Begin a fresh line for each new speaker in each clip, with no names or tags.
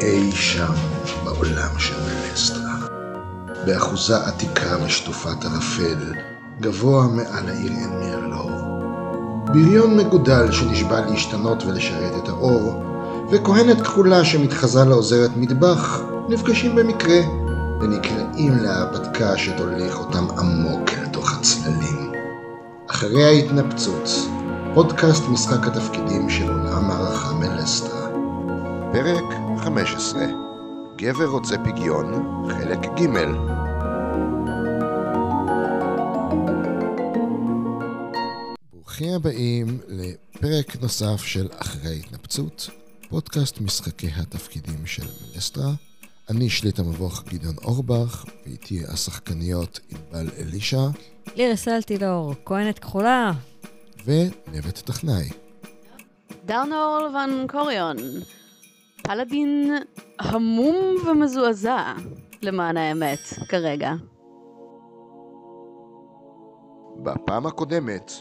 אי שם בעולם של מלסטרה. באחוזה עתיקה משטופת ערפל, גבוה מעל העיר עין מרלור. בריון מגודל שנשבע להשתנות ולשרת את האור, וכהנת כחולה שמתחזה לעוזרת מטבח, נפגשים במקרה, ונקראים להרפתקה שתוליך אותם עמוק אל תוך הצללים. אחרי ההתנפצות, פודקאסט משחק התפקידים של עולם הערכה מלסטרה. פרק 15 גבר רוצה פגיון, חלק ג' ברוכים הבאים לפרק נוסף של אחרי התנפצות, פודקאסט משחקי התפקידים של מלסטרה. אני שליט המבוך גדעון אורבך, ואיתי השחקניות ענבל אלישע
לירס אלטילור, כהנת כחולה.
ונבט טכנאי.
דרנור ון קוריון, פלאדין המום ומזועזע, למען האמת, כרגע.
בפעם הקודמת,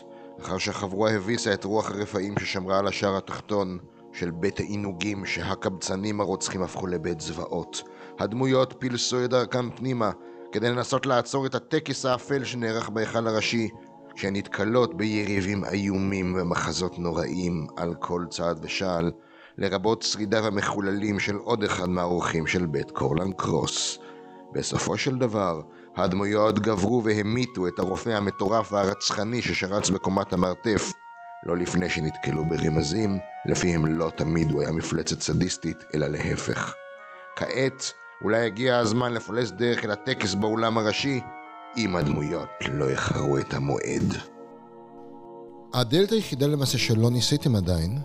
אחר שהחבורה הביסה את רוח הרפאים ששמרה על השער התחתון של בית העינוגים שהקבצנים הרוצחים הפכו לבית זוועות, הדמויות פילסו את דרכם פנימה כדי לנסות לעצור את הטקס האפל שנערך בהיכל הראשי, כשהן נתקלות ביריבים איומים ומחזות נוראים על כל צעד ושעל, לרבות שרידיו המחוללים של עוד אחד מהאורחים של בית קורלן קרוס. בסופו של דבר, הדמויות גברו והמיתו את הרופא המטורף והרצחני ששרץ בקומת המרתף, לא לפני שנתקלו ברמזים, לפיהם לא תמיד הוא היה מפלצת סדיסטית, אלא להפך. כעת, אולי הגיע הזמן לפלס דרך אל הטקס באולם הראשי, אם הדמויות לא יחרו את המועד. הדלת היחידה למעשה שלא ניסיתם עדיין,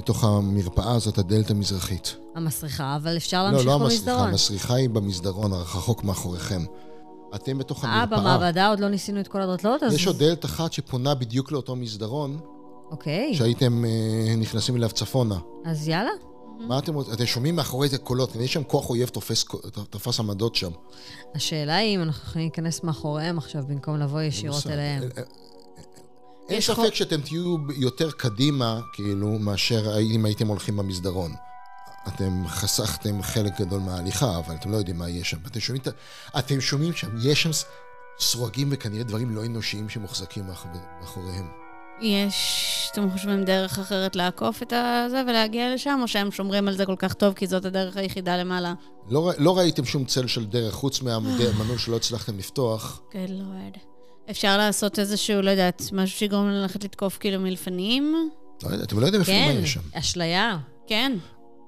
מתוך המרפאה הזאת, הדלת המזרחית.
המסריחה, אבל אפשר
לא,
להמשיך
לא המסריחה,
במסדרון.
המסריחה היא במסדרון, הרחוק מאחוריכם. אתם בתוך
אה,
המרפאה.
במעבדה עוד לא ניסינו את כל הדרטלות, אז...
יש עוד דלת אחת שפונה בדיוק לאותו מסדרון,
אוקיי,
שהייתם אה, נכנסים אליו צפונה.
אז יאללה.
מה אתם רוצים? אתם שומעים מאחורי זה קולות, כנראה יש שם כוח אויב תופס קו- ת- תפס עמדות שם.
השאלה היא אם אנחנו יכולים להיכנס מאחוריהם עכשיו במקום לבוא ישירות
בסדר.
אליהם.
אה, אה, אין
יש
ספק
חוק-
שאתם תהיו יותר קדימה, כאילו, מאשר אם הייתם הולכים במסדרון. אתם חסכתם חלק גדול מההליכה, אבל אתם לא יודעים מה יש שם. אתם שומעים, את ה- אתם שומעים שם, יש שם ס- סרוגים וכנראה דברים לא אנושיים שמוחזקים מאח- מאחוריהם.
יש, אתם חושבים, דרך אחרת לעקוף את הזה ולהגיע לשם, או שהם שומרים על זה כל כך טוב, כי זאת הדרך היחידה למעלה?
לא, ר- לא ראיתם שום צל של דרך, חוץ
אה.
מהמנעול שלא הצלחתם לפתוח.
גד לורד. אפשר לעשות איזשהו, לא יודעת, משהו שיגרום לנו ללכת לתקוף כאילו מלפנים?
לא יודע, אתם לא יודעים אפילו
כן,
מה יש שם.
אשליה.
כן.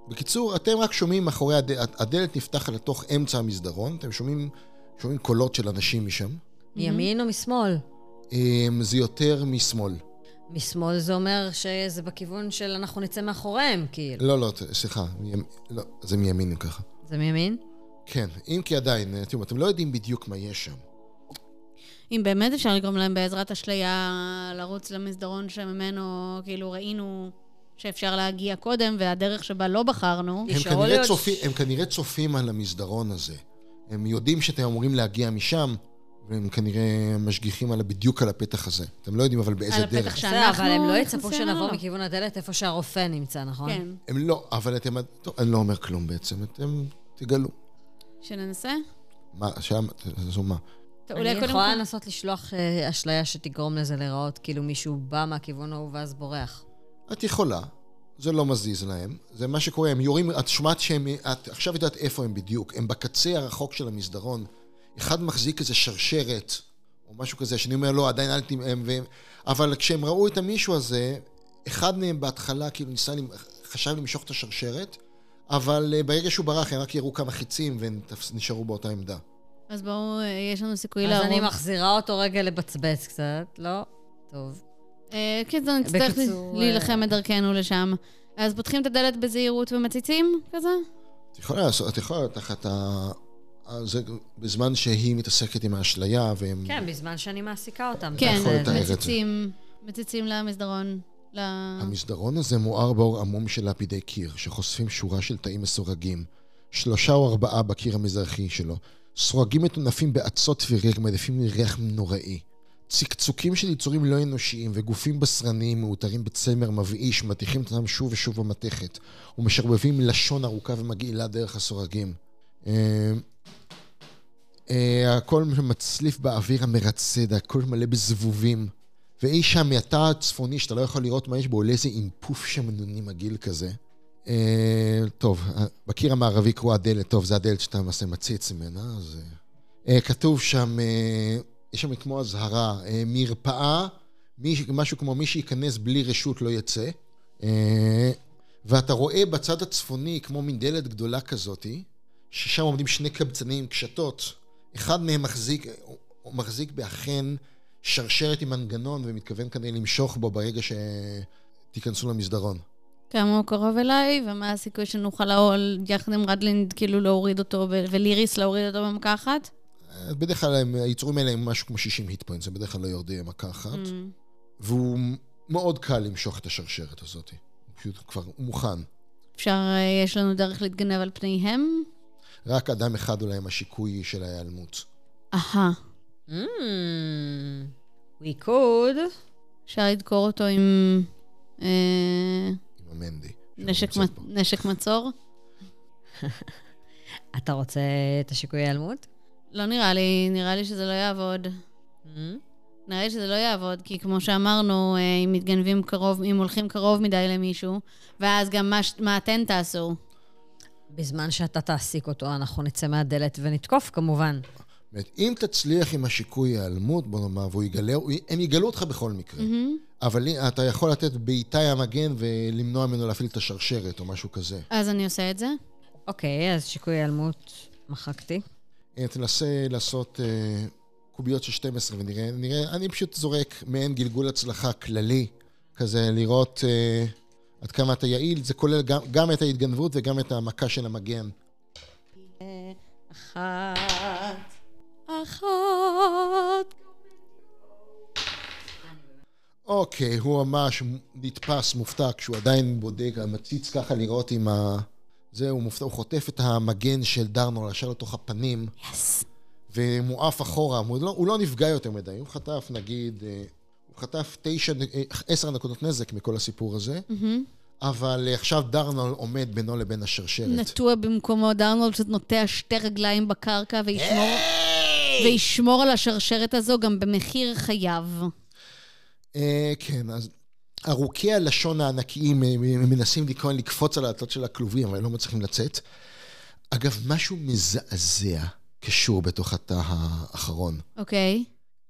בקיצור, אתם רק שומעים מאחורי הדלת, הדלת נפתחת לתוך אמצע המסדרון, אתם שומעים, שומעים קולות של אנשים משם.
מימין או משמאל?
אמ, זה יותר משמאל.
משמאל זה אומר שזה בכיוון של אנחנו נצא מאחוריהם, כאילו.
לא, לא, ת- סליחה, מימ... לא, זה מימין ככה.
זה מימין?
כן, אם כי עדיין, תראו, אתם לא יודעים בדיוק מה יש שם.
אם באמת אפשר לגרום להם בעזרת אשליה לרוץ למסדרון שממנו, כאילו, ראינו שאפשר להגיע קודם, והדרך שבה לא בחרנו.
הם
נשארו לי
כנראה,
עוד-
צופים, הם כנראה צופים על המסדרון הזה. הם יודעים שאתם אמורים להגיע משם, והם כנראה משגיחים על, בדיוק על הפתח הזה. אתם לא יודעים אבל באיזה
על
דרך.
הפתח
בסדר,
שאנחנו
אבל הם לא
נכנסים
יצפו שנבוא
אליו.
מכיוון הדלת איפה שהרופא נמצא, נכון?
כן.
הם לא, אבל אתם... טוב, אני לא אומר כלום בעצם, אתם תגלו.
שננסה?
מה, שם, תעשו מה.
טוב,
אני
אולי קודם
יכולה
כל...
לנסות לשלוח אה, אשליה שתגרום לזה להיראות כאילו מישהו בא מהכיוון ההוא ואז בורח.
את יכולה, זה לא מזיז להם, זה מה שקורה, הם יורים, את שמעת שהם, את עכשיו יודעת איפה הם בדיוק, הם בקצה הרחוק של המסדרון, אחד מחזיק איזה שרשרת, או משהו כזה, שאני אומר, לא, עדיין אל תמהם, והם, אבל כשהם ראו את המישהו הזה, אחד מהם בהתחלה כאילו ניסה, למ- חשב למשוך את השרשרת, אבל אה, ברגע שהוא ברח, הם רק יראו כמה חיצים והם תפס- נשארו באותה עמדה.
אז בואו, אה, יש לנו סיכוי
אז אני
להרוג.
מחזירה אותו רגע לבצבץ קצת, לא? טוב.
אה, כן, זה נצטרך
בקיצור, אה,
ל- להילחם את דרכנו לשם. אז פותחים את הדלת בזהירות ומציצים כזה?
את יכולה לעשות, את יכולה תחת ה... אה, זה בזמן שהיא מתעסקת עם האשליה, והם...
כן, בזמן שאני מעסיקה אותם.
כן,
יכול לתאר את זה.
מציצים, מציצים למסדרון. ל...
המסדרון הזה מואר באור עמום של לפידי קיר, שחושפים שורה של תאים מסורגים, שלושה או ארבעה בקיר המזרחי שלו. סורגים מטונפים בעצות וריח, מעדיפים ריח נוראי.
צקצוקים של יצורים לא אנושיים וגופים בשרניים מעוטרים בצמר מבאיש מטיחים את עצמם שוב ושוב במתכת ומשרבבים לשון ארוכה ומגעילה דרך הסורגים. אה, אה, הכל מצליף באוויר המרצד, הכל מלא בזבובים. ואי שם מהתא הצפוני שאתה לא יכול לראות מה יש בו, עולה איזה אינפוף שמנוני מגעיל כזה. אה, טוב, אה, בקיר המערבי קרואה הדלת, טוב, זה הדלת שאתה למעשה מציץ ממנה, אז... אה, אה, כתוב שם, אה, יש שם כמו אזהרה, אה, מרפאה, מי, משהו כמו מי שייכנס בלי רשות לא יצא. אה, ואתה רואה בצד הצפוני, כמו מין דלת גדולה כזאתי, ששם עומדים שני קבצנים עם קשתות, אחד מהם מחזיק, הוא- הוא מחזיק באכן שרשרת עם מנגנון ומתכוון כנראה למשוך בו ברגע שתיכנסו למסדרון.
כמה הוא קרוב אליי, ומה הסיכוי שנוכל לעול יחד עם רדלינד, כאילו להוריד אותו, ו- וליריס להוריד אותו במכה אחת?
אז בדרך כלל הם, היצורים האלה הם משהו כמו 60 היט פוינטס, הם בדרך כלל לא יורדים מכה אחת,
אמ,
והוא מאוד קל למשוך את השרשרת הזאת. הוא פשוט כבר הוא מוכן.
אפשר, אה, יש לנו דרך להתגנב על פניהם?
רק אדם אחד אולי עם השיקוי של ההיעלמות.
אהה.
Mm, Hmm, we could.
אפשר לדקור אותו עם אה,
עם המנדי. שהוא
נשק
נמצא
מ-
פה.
נשק מצור?
אתה רוצה את השיקוי היעלמות?
לא נראה לי, נראה לי שזה לא יעבוד.
Mm,
נראה לי שזה לא יעבוד, כי כמו שאמרנו, אה, אם מתגנבים קרוב, אם הולכים קרוב מדי למישהו, ואז גם מה, ש- מה אתן תעשו?
בזמן שאתה תעסיק אותו, אנחנו נצא מהדלת ונתקוף כמובן.
באמת, אם תצליח עם השיקוי ההיעלמות, בוא נאמר, והוא יגלה, הוא- הם יגלו אותך בכל מקרה. אבל אם- אתה יכול לתת בעיטה עם המגן ולמנוע ממנו להפעיל את השרשרת או משהו כזה.
אז אני עושה את זה.
אוקיי, אז שיקוי היעלמות מחקתי.
אה, תנסה לעשות אה, קוביות של 12 ונראה, נראה, אני פשוט זורק מעין גלגול הצלחה כללי, כזה לראות אה, עד כמה אתה יעיל, זה כולל גם, גם את ההתגנבות וגם את המכה של המגן.
אחת.
אחת.
אוקיי, הוא ממש נתפס מופתע כשהוא עדיין בודק, מציץ ככה לראות אם ה... זה, הוא מופתע, הוא חוטף את המגן של דרנור, ישר לתוך הפנים. יס. ומועף אחורה, הוא לא, הוא לא נפגע יותר מדי, הוא חטף נגיד, אה, הוא חטף תשע, נ- אה, עשר נקודות נזק מכל הסיפור הזה, אבל אה, עכשיו דרנול עומד בינו לבין השרשרת.
נטוע במקומו, דרנולד פשוט נוטע שתי רגליים בקרקע וישמור, וישמור על השרשרת הזו גם במחיר חייו.
אה, כן, אז ארוכי הלשון הענקיים אה, הם מנסים לקרוא, לקפוץ על העטות של הכלובים, אבל הם לא מצליחים לצאת. אגב, משהו מזעזע קשור בתוך התא האחרון.
אוקיי.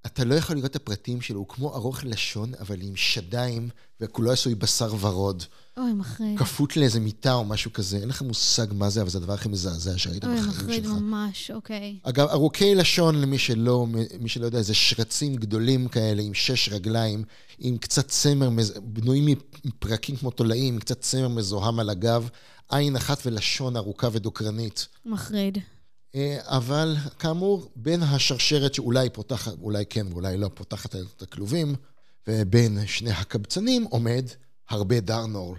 אתה לא יכול לראות את הפרטים שלו, הוא כמו ארוך לשון, אבל עם שדיים, וכולו עשוי בשר ורוד.
אוי, מחריד.
כפות לאיזה מיטה או משהו כזה, אין לך מושג מה זה, אבל זה הדבר הכי מזעזע שראית
אוי,
בחיים
מחריד
שלך.
ממש, אוקיי.
אגב, ארוכי לשון, למי שלא, מי שלא יודע, זה שרצים גדולים כאלה עם שש רגליים, עם קצת צמר, מז- בנויים מפרקים כמו תולעים, עם קצת צמר מזוהם על הגב, עין אחת ולשון ארוכה ודוקרנית.
מחריד.
אה, אבל כאמור, בין השרשרת שאולי פותחת, אולי כן ואולי לא, פותחת את הכלובים, ובין שני הקבצנים עומד הרבה דרנור.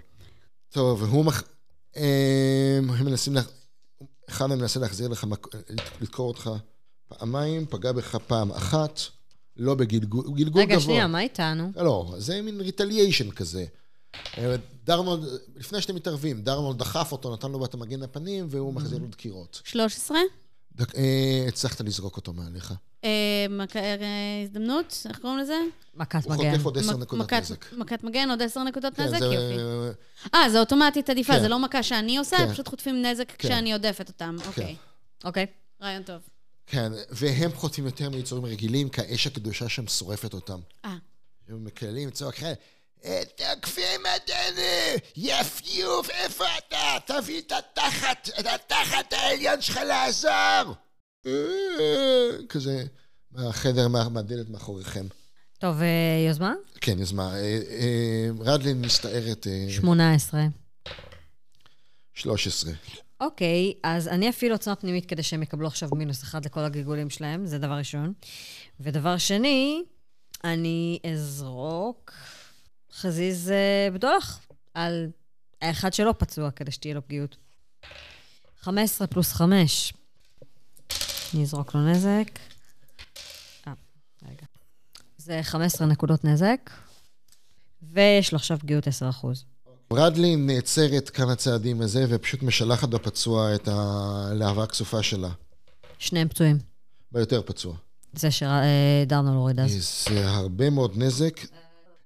טוב, והוא מח... אה, הם מנסים לה... אחד מהם מנסה להחזיר לך, מק... לדקור אותך פעמיים, פגע בך פעם אחת, לא בגלגול, הוא גלגול גבוה.
רגע, שנייה, מה איתנו?
לא, זה מין ריטליישן כזה. אה, דרנולד, לפני שאתם מתערבים, דרנולד דחף אותו, נתן לו בת המגן לפנים,
Mm-hmm.
והוא מחזיר לו דקירות.
13?
דק- אה, הצלחת לזרוק אותו מעליך.
אה, מק- אה, הזדמנות? איך קוראים לזה?
מכת
הוא
מגן.
חוטף עוד 10
מק-
נקודות
מכת-
נזק.
מכת מגן, עוד 10 נקודות
כן,
נזק?
זה-
יופי. אה, זה אוטומטית עדיפה,
כן.
זה לא מכה שאני עושה,
כן.
פשוט חוטפים נזק כשאני עודפת אותם. אוקיי,
אוקיי.
רעיון טוב.
כן, והם חוטפים יותר מיצורים רגילים, כי האש הקדושה שם שורפת אותם.
אה,
הם מקללים צועק אחר, תקפים אותנו! יפיוף, איפה אתה? תביא את התחת, את התחת העליון שלך לעזור! אה, כזה, מהחדר, מה- מהדלת מאחוריכם.
טוב, אה, יוזמה?
כן, אז מה, אה, אה, רדלין מסתערת אה,
18.
13.
אוקיי, אז אני אפעיל עוצמה פנימית כדי שהם יקבלו עכשיו מינוס אחד לכל הגלגולים שלהם, זה דבר ראשון. ודבר שני, אני אזרוק חזיז אה, בדולח על האחד שלא פצוע כדי שתהיה לו פגיעות. 15 פלוס 5. אני אזרוק לו נזק. אה, רגע. זה זה 15 נקודות נזק, ויש לו עכשיו פגיעות 10%.
ברדלי נעצרת כמה צעדים מזה, ופשוט משלחת בפצוע את הלהבה הכסופה שלה.
שניהם פצועים.
ביותר פצוע.
זה שדרנו להוריד אז.
זה הרבה מאוד נזק.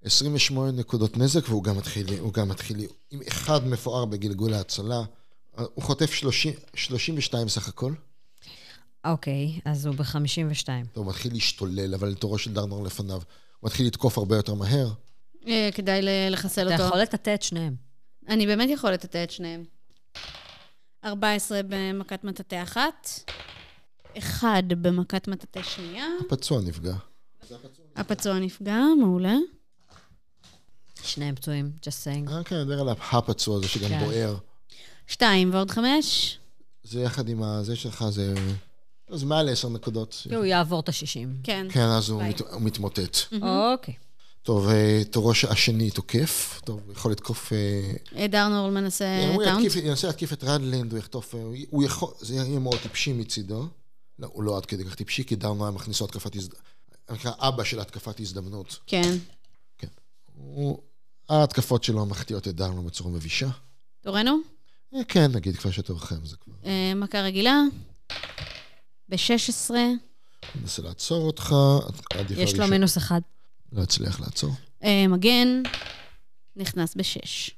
28 נקודות נזק, והוא גם מתחיל, הוא גם מתחיל עם אחד מפואר בגלגול ההצלה. הוא חוטף 30, 32 סך הכל.
אוקיי, אז הוא ב-52.
טוב, הוא מתחיל להשתולל, אבל תורו של דרנר לפניו. הוא מתחיל לתקוף הרבה יותר מהר.
אה, כדאי ל- לחסל
אתה
אותו.
יכול לטאטא את שניהם.
אני באמת יכול לטאטא את שניהם. 14 במכת מטאטא אחת, אחד במכת מטאטא שנייה,
פצוע נפגע.
הפצוע נפגע, מעולה.
שניהם פצועים, just saying.
אה, כן, אני מדבר על הפצוע הזה שגם
כן.
בוער.
שתיים ועוד חמש,
זה יחד עם הזה שלך, זה... לא, זה מעל 10 נקודות.
כי הוא יעבור את ה-60.
כן.
כן, אז הוא, מת, הוא מתמוטט.
אוקיי.
טוב, אה, תורו ש- השני תוקף. טוב, הוא יכול לתקוף... אה,
אה, דרנור מנסה
אה,
הוא
טאונט.
יתקיף- ינסה להתקיף את רדלינד, הוא יחטוף... אה, הוא יכול... זה יהיה מאוד טיפשי מצידו. לא, הוא לא עד כדי כך טיפשי, כי דרנו היה מכניסו התקפת הזדמנות. נקרא אבא של התקפת הזדמנות.
כן.
הוא... ההתקפות שלו מחטיאות את דרנו בצורה מבישה.
תורנו?
אה, כן, נגיד כבר שתורכם זה כבר.
אה, מכה רגילה. ב-16,
הוא מנסה לעצור אותך, עדיף
יש לו מינוס אחד.
לא הצליח לעצור.
אה, מגן, נכנס ב-6.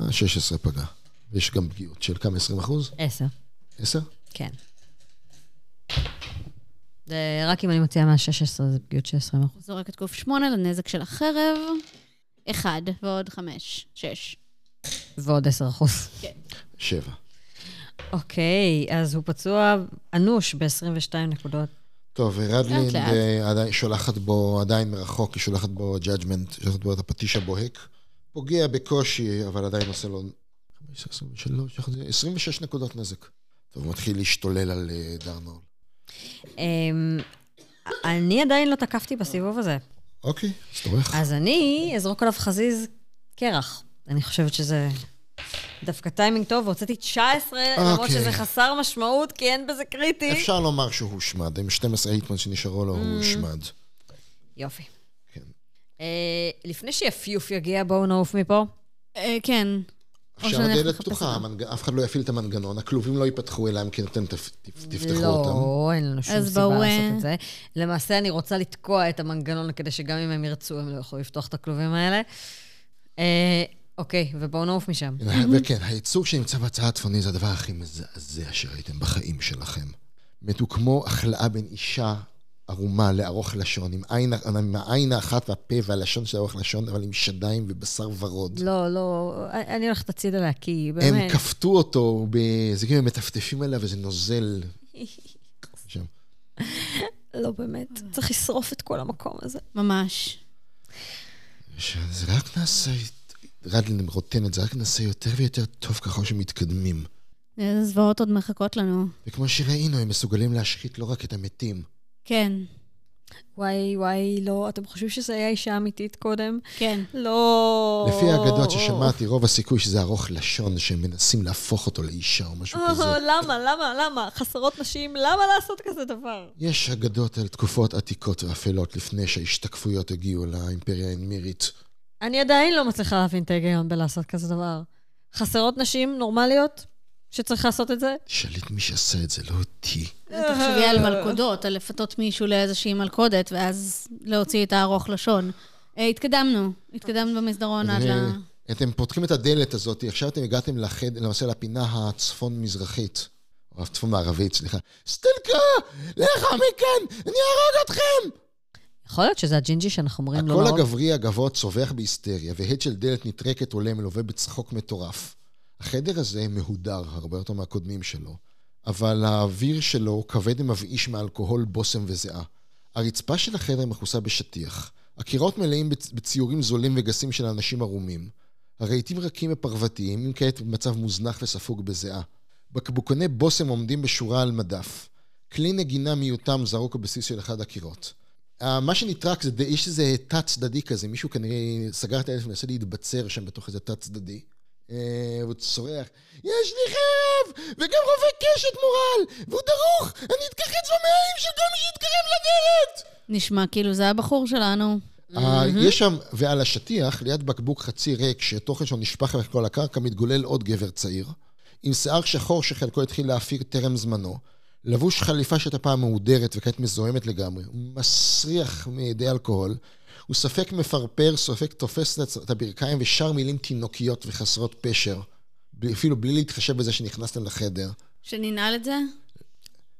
אה, 16 פגע. יש גם פגיעות של כמה? 20 אחוז?
עשר.
10?
כן. זה רק אם אני מוציאה מה-16, זה פגיעות של 20%.
זורק את קוף 8 לנזק של החרב. 1 ועוד 5, 6.
ועוד 10%.
7.
אוקיי, אז הוא פצוע אנוש ב-22 נקודות.
טוב, רדלין
לאט, לאט.
אה, עדיין שולחת בו, עדיין מרחוק, היא שולחת בו judgment, שולחת בו את הפטיש הבוהק. פוגע בקושי, אבל עדיין עושה לו 15, 23, 26 נקודות נזק. טוב, הוא מתחיל להשתולל על אה, דארנול.
אמ, אני עדיין לא תקפתי בסיבוב הזה,
אוקיי, אז תורך.
אז אני אזרוק עליו חזיז קרח. אני חושבת שזה דווקא טיימינג טוב, והוצאתי 19, למרות
אוקיי.
שזה חסר משמעות, כי אין בזה קריטי.
אפשר לומר שהוא הושמד, עם 12 היטמן שנשארו לו,
אה,
הוא הושמד.
יופי.
כן.
אה, לפני שיפיוף יגיע, בואו נעוף מפה.
כן. או
עכשיו
שנלך
הדלת
לחפש
פתוחה,
אותו.
המנג- אף אחד לא יפעיל את המנגנון, הכלובים לא ייפתחו אלא אם כן אתם תפ- תפ- תפתחו אותם.
לא, אין לנו שום
אז
סיבה
בואו,
לעשות
אה,
את זה. למעשה, אני רוצה לתקוע את המנגנון כדי שגם אם הם ירצו, הם לא יוכלו לפתוח את הכלובים האלה. אה, אוקיי, ובואו נעוף משם.
כן, וכן, הייצוג שנמצא בצד הצפוני זה הדבר הכי מזעזע שראיתם בחיים שלכם. מתו כמו החלאה בין אישה ערומה לארוך לשון, עם עין- עם העין האחת והפה והלשון של ארוך לשון, אבל עם שדיים ובשר ורוד.
לא, לא, אני הולכת הצידה לה, כי
הם
באמת...
כפתו אותו, ב- זה כאילו הם מטפטפים עליו איזה נוזל. שם.
לא, באמת. צריך לשרוף את כל המקום הזה.
ממש.
שזה רק נעשה, רדלין רוטן את זה, רק נעשה יותר ויותר טוב ככל שמתקדמים.
איזה זוועות עוד מחכות לנו.
וכמו שראינו, הם מסוגלים להשחית לא רק את המתים.
כן,
וואי, וואי, לא, אתם חושבים שזה היה אישה אמיתית קודם?
כן.
לא.
לפי האגדות ששמעתי, רוב הסיכוי שזה ארוך לשון, שהם מנסים להפוך אותו לאישה או משהו
אה,
כזה.
למה, למה, למה? חסרות נשים, למה לעשות כזה דבר?
יש אגדות על תקופות עתיקות ואפלות לפני שההשתקפויות הגיעו לאימפריה האנמירית.
אני עדיין לא מצליחה להבין את ההיגיון בלעשות כזה דבר. חסרות נשים נורמליות שצריך לעשות את זה?
שליט מי שעשה את זה, לא אותי.
תחשבי על מלכודות, על לפתות מישהו לאיזושהי מלכודת, ואז להוציא את הארוך לשון. אה, התקדמנו, התקדמנו במסדרון עד ל...
ו- אה, אתם פותחים את הדלת הזאת, עכשיו אתם הגעתם לחד, למעשה לפינה הצפון-מזרחית, או הצפון-מערבית, סליחה. סטלקה, לך מכאן, אני אהרוג אתכם!
יכול להיות שזה הג'ינג'י שאנחנו אומרים לו
הקול
להרוג?
הגברי הגבוה צווח בהיסטריה, והד של דלת נטרקת עולה מלווה בצחוק מטורף. החדר הזה מהודר הרבה יותר מהקודמים שלו, אבל האוויר שלו כבד ומבאיש מאלכוהול, בושם וזיעה. הרצפה של החדר מכוסה בשטיח. הקירות מלאים בצ- בציורים זולים וגסים של אנשים ערומים. הרהיטים רכים ופרוותיים, אם כעת במצב מוזנח וספוג בזיעה. בקבוקוני בושם עומדים בשורה על מדף. כלי נגינה מיותם זרוק בבסיס של אחד הקירות. אה, מה שנטרק זה, יש איזה תא צדדי כזה, מישהו כנראה סגר את הטלפון, מנסה להתבצר שם בתוך איזה תא צדדי. אה, הוא צורח, יש לי חרב, וגם רובה קשת מורל, והוא דרוך, אני אתקחץ במעיים של כל מי שיתקרב לדלת!
נשמע כאילו זה הבחור שלנו.
אה, יש שם, ועל השטיח, ליד בקבוק חצי ריק, שהתוכן שלו נשפך על כל הקרקע, מתגולל עוד גבר צעיר, עם שיער שחור שחלקו התחיל להפיק טרם זמנו, לבוש חליפה שהייתה פעם מהודרת וכעת מזוהמת לגמרי, הוא מסריח מידי אלכוהול, הוא ספק מפרפר, ספק תופס את הצ- את הברכיים ושר מילים תינוקיות וחסרות פשר, בלי- אפילו בלי להתחשב בזה שנכנסתם לחדר.
שננעל את זה?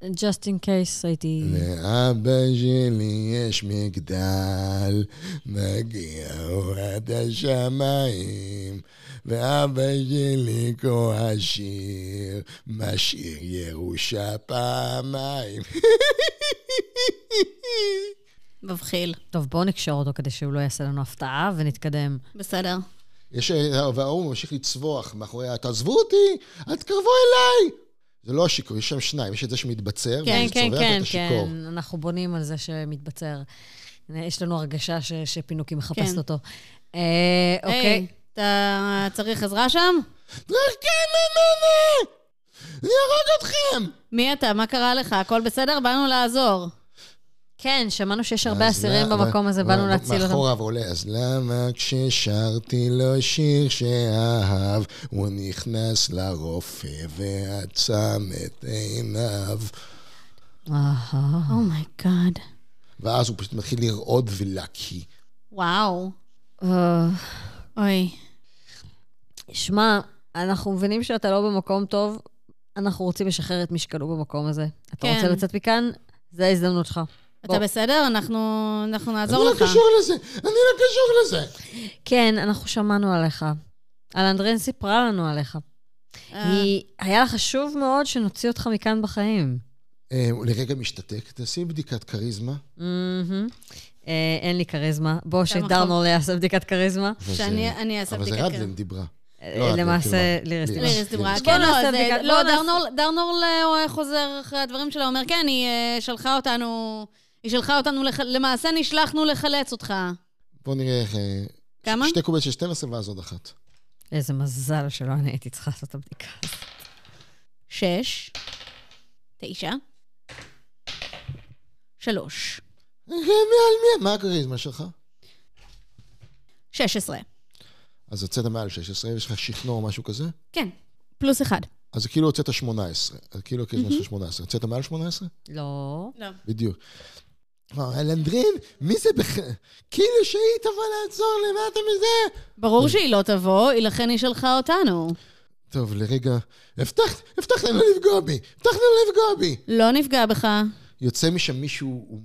Just in case הייתי...
לאבא שלי יש מגדל, מגיע אורת השמיים, ואבא שלי כה עשיר, משאיר ירושה פעמיים.
מבחיל.
טוב, בואו נקשור אותו כדי שהוא לא יעשה לנו הפתעה ונתקדם.
בסדר.
יש, וההוא ממשיך לצווח מאחורי ה... תעזבו אותי, אל תקרבו אליי! זה לא השיכור, יש שם שניים, יש את זה שמתבצר,
כן,
וזה
כן,
צווח
כן,
את השיכור.
כן, אנחנו בונים על זה שמתבצר. יש לנו הרגשה ש- שפינוקי מחפשת
כן.
אותו. אה,
היי,
אוקיי.
אתה צריך עזרה שם?
תרקם ממני! לא, אני ארוג אתכם!
מי אתה? מה קרה לך? הכל בסדר? באנו לעזור.
כן, שמענו שיש הרבה
אז
אסירים
למה-
במקום הזה, באנו
מה-
להציל אותם.
מאחוריו עולה, אז למה כששרתי לו שיר שאהב, הוא נכנס לרופא ועצם את עיניו.
אהה.
אומייגאד.
ואז הוא פשוט מתחיל לרעוד ולהקיא.
וואו.
אה,
אוי.
שמע, אנחנו מבינים שאתה לא במקום טוב, אנחנו רוצים לשחרר את משקלו במקום הזה. אתה
כן.
רוצה לצאת מכאן? זו ההזדמנות שלך.
אתה בסדר? אנחנו- אנחנו
אני
נעזור
לא
לך.
קשור לזה! אני לא קשור לזה!
כן, אנחנו שמענו עליך. אלנדרין סיפרה לנו עליך.
אה,
היא, היה לה חשוב מאוד שנוציא אותך מכאן בחיים.
אה, הוא לרגע משתתק, תעשי בדיקת כריזמה.
מהמם. אה, אין לי כריזמה. בוא שדרנור
נכון.
יעשה בדיקת כריזמה.
אבל
שאני
זה-
אני אעשה
אבל זה
בדיקת
רדלין דיברה.
אה,
לא, את
למעשה,
מכירה.
לירס
לירס.
ליריס דיברה.
בוא
כן, לא,
נעשה
זה-
בדיקת-
לא,
בוא נעשה-
דרנור- דרנור אה, חוזר אחרי הדברים שלה, אומר, כן, היא אה, שלחה אותנו, היא שלחה אותנו, לח- למעשה נשלחנו לחלץ אותך.
בואו נראה איך... אה,
כמה?
שתי קוביות של 12 ואז עוד אחת.
איזה מזל שלא אני הייתי צריכה לעשות את הבדיקה.
שש, תשע, שלוש,
אה, מי על מי? מה הכריזמה שלך?
שש עשרה.
אז הוצאת מעל 16, יש לך שכנוע או משהו כזה?
כן, פלוס אחד.
אז זה כאילו הוצאת 18, אז כאילו הכריזמה שלך 18. הוצאת מעל 18?
לא.
לא.
בדיוק. וואו, אלנדרין, מי זה בכלל? כאילו שהיא תבוא לעזור לי, מה אתה מזה?
ברור שהיא לא תבוא, היא לכן היא שלחה אותנו.
טוב, לרגע, הבטחת, הבטחת לא לפגוע בי, הבטחת לא לפגוע בי.
לא נפגע בך.
יוצא משם מישהו, הוא,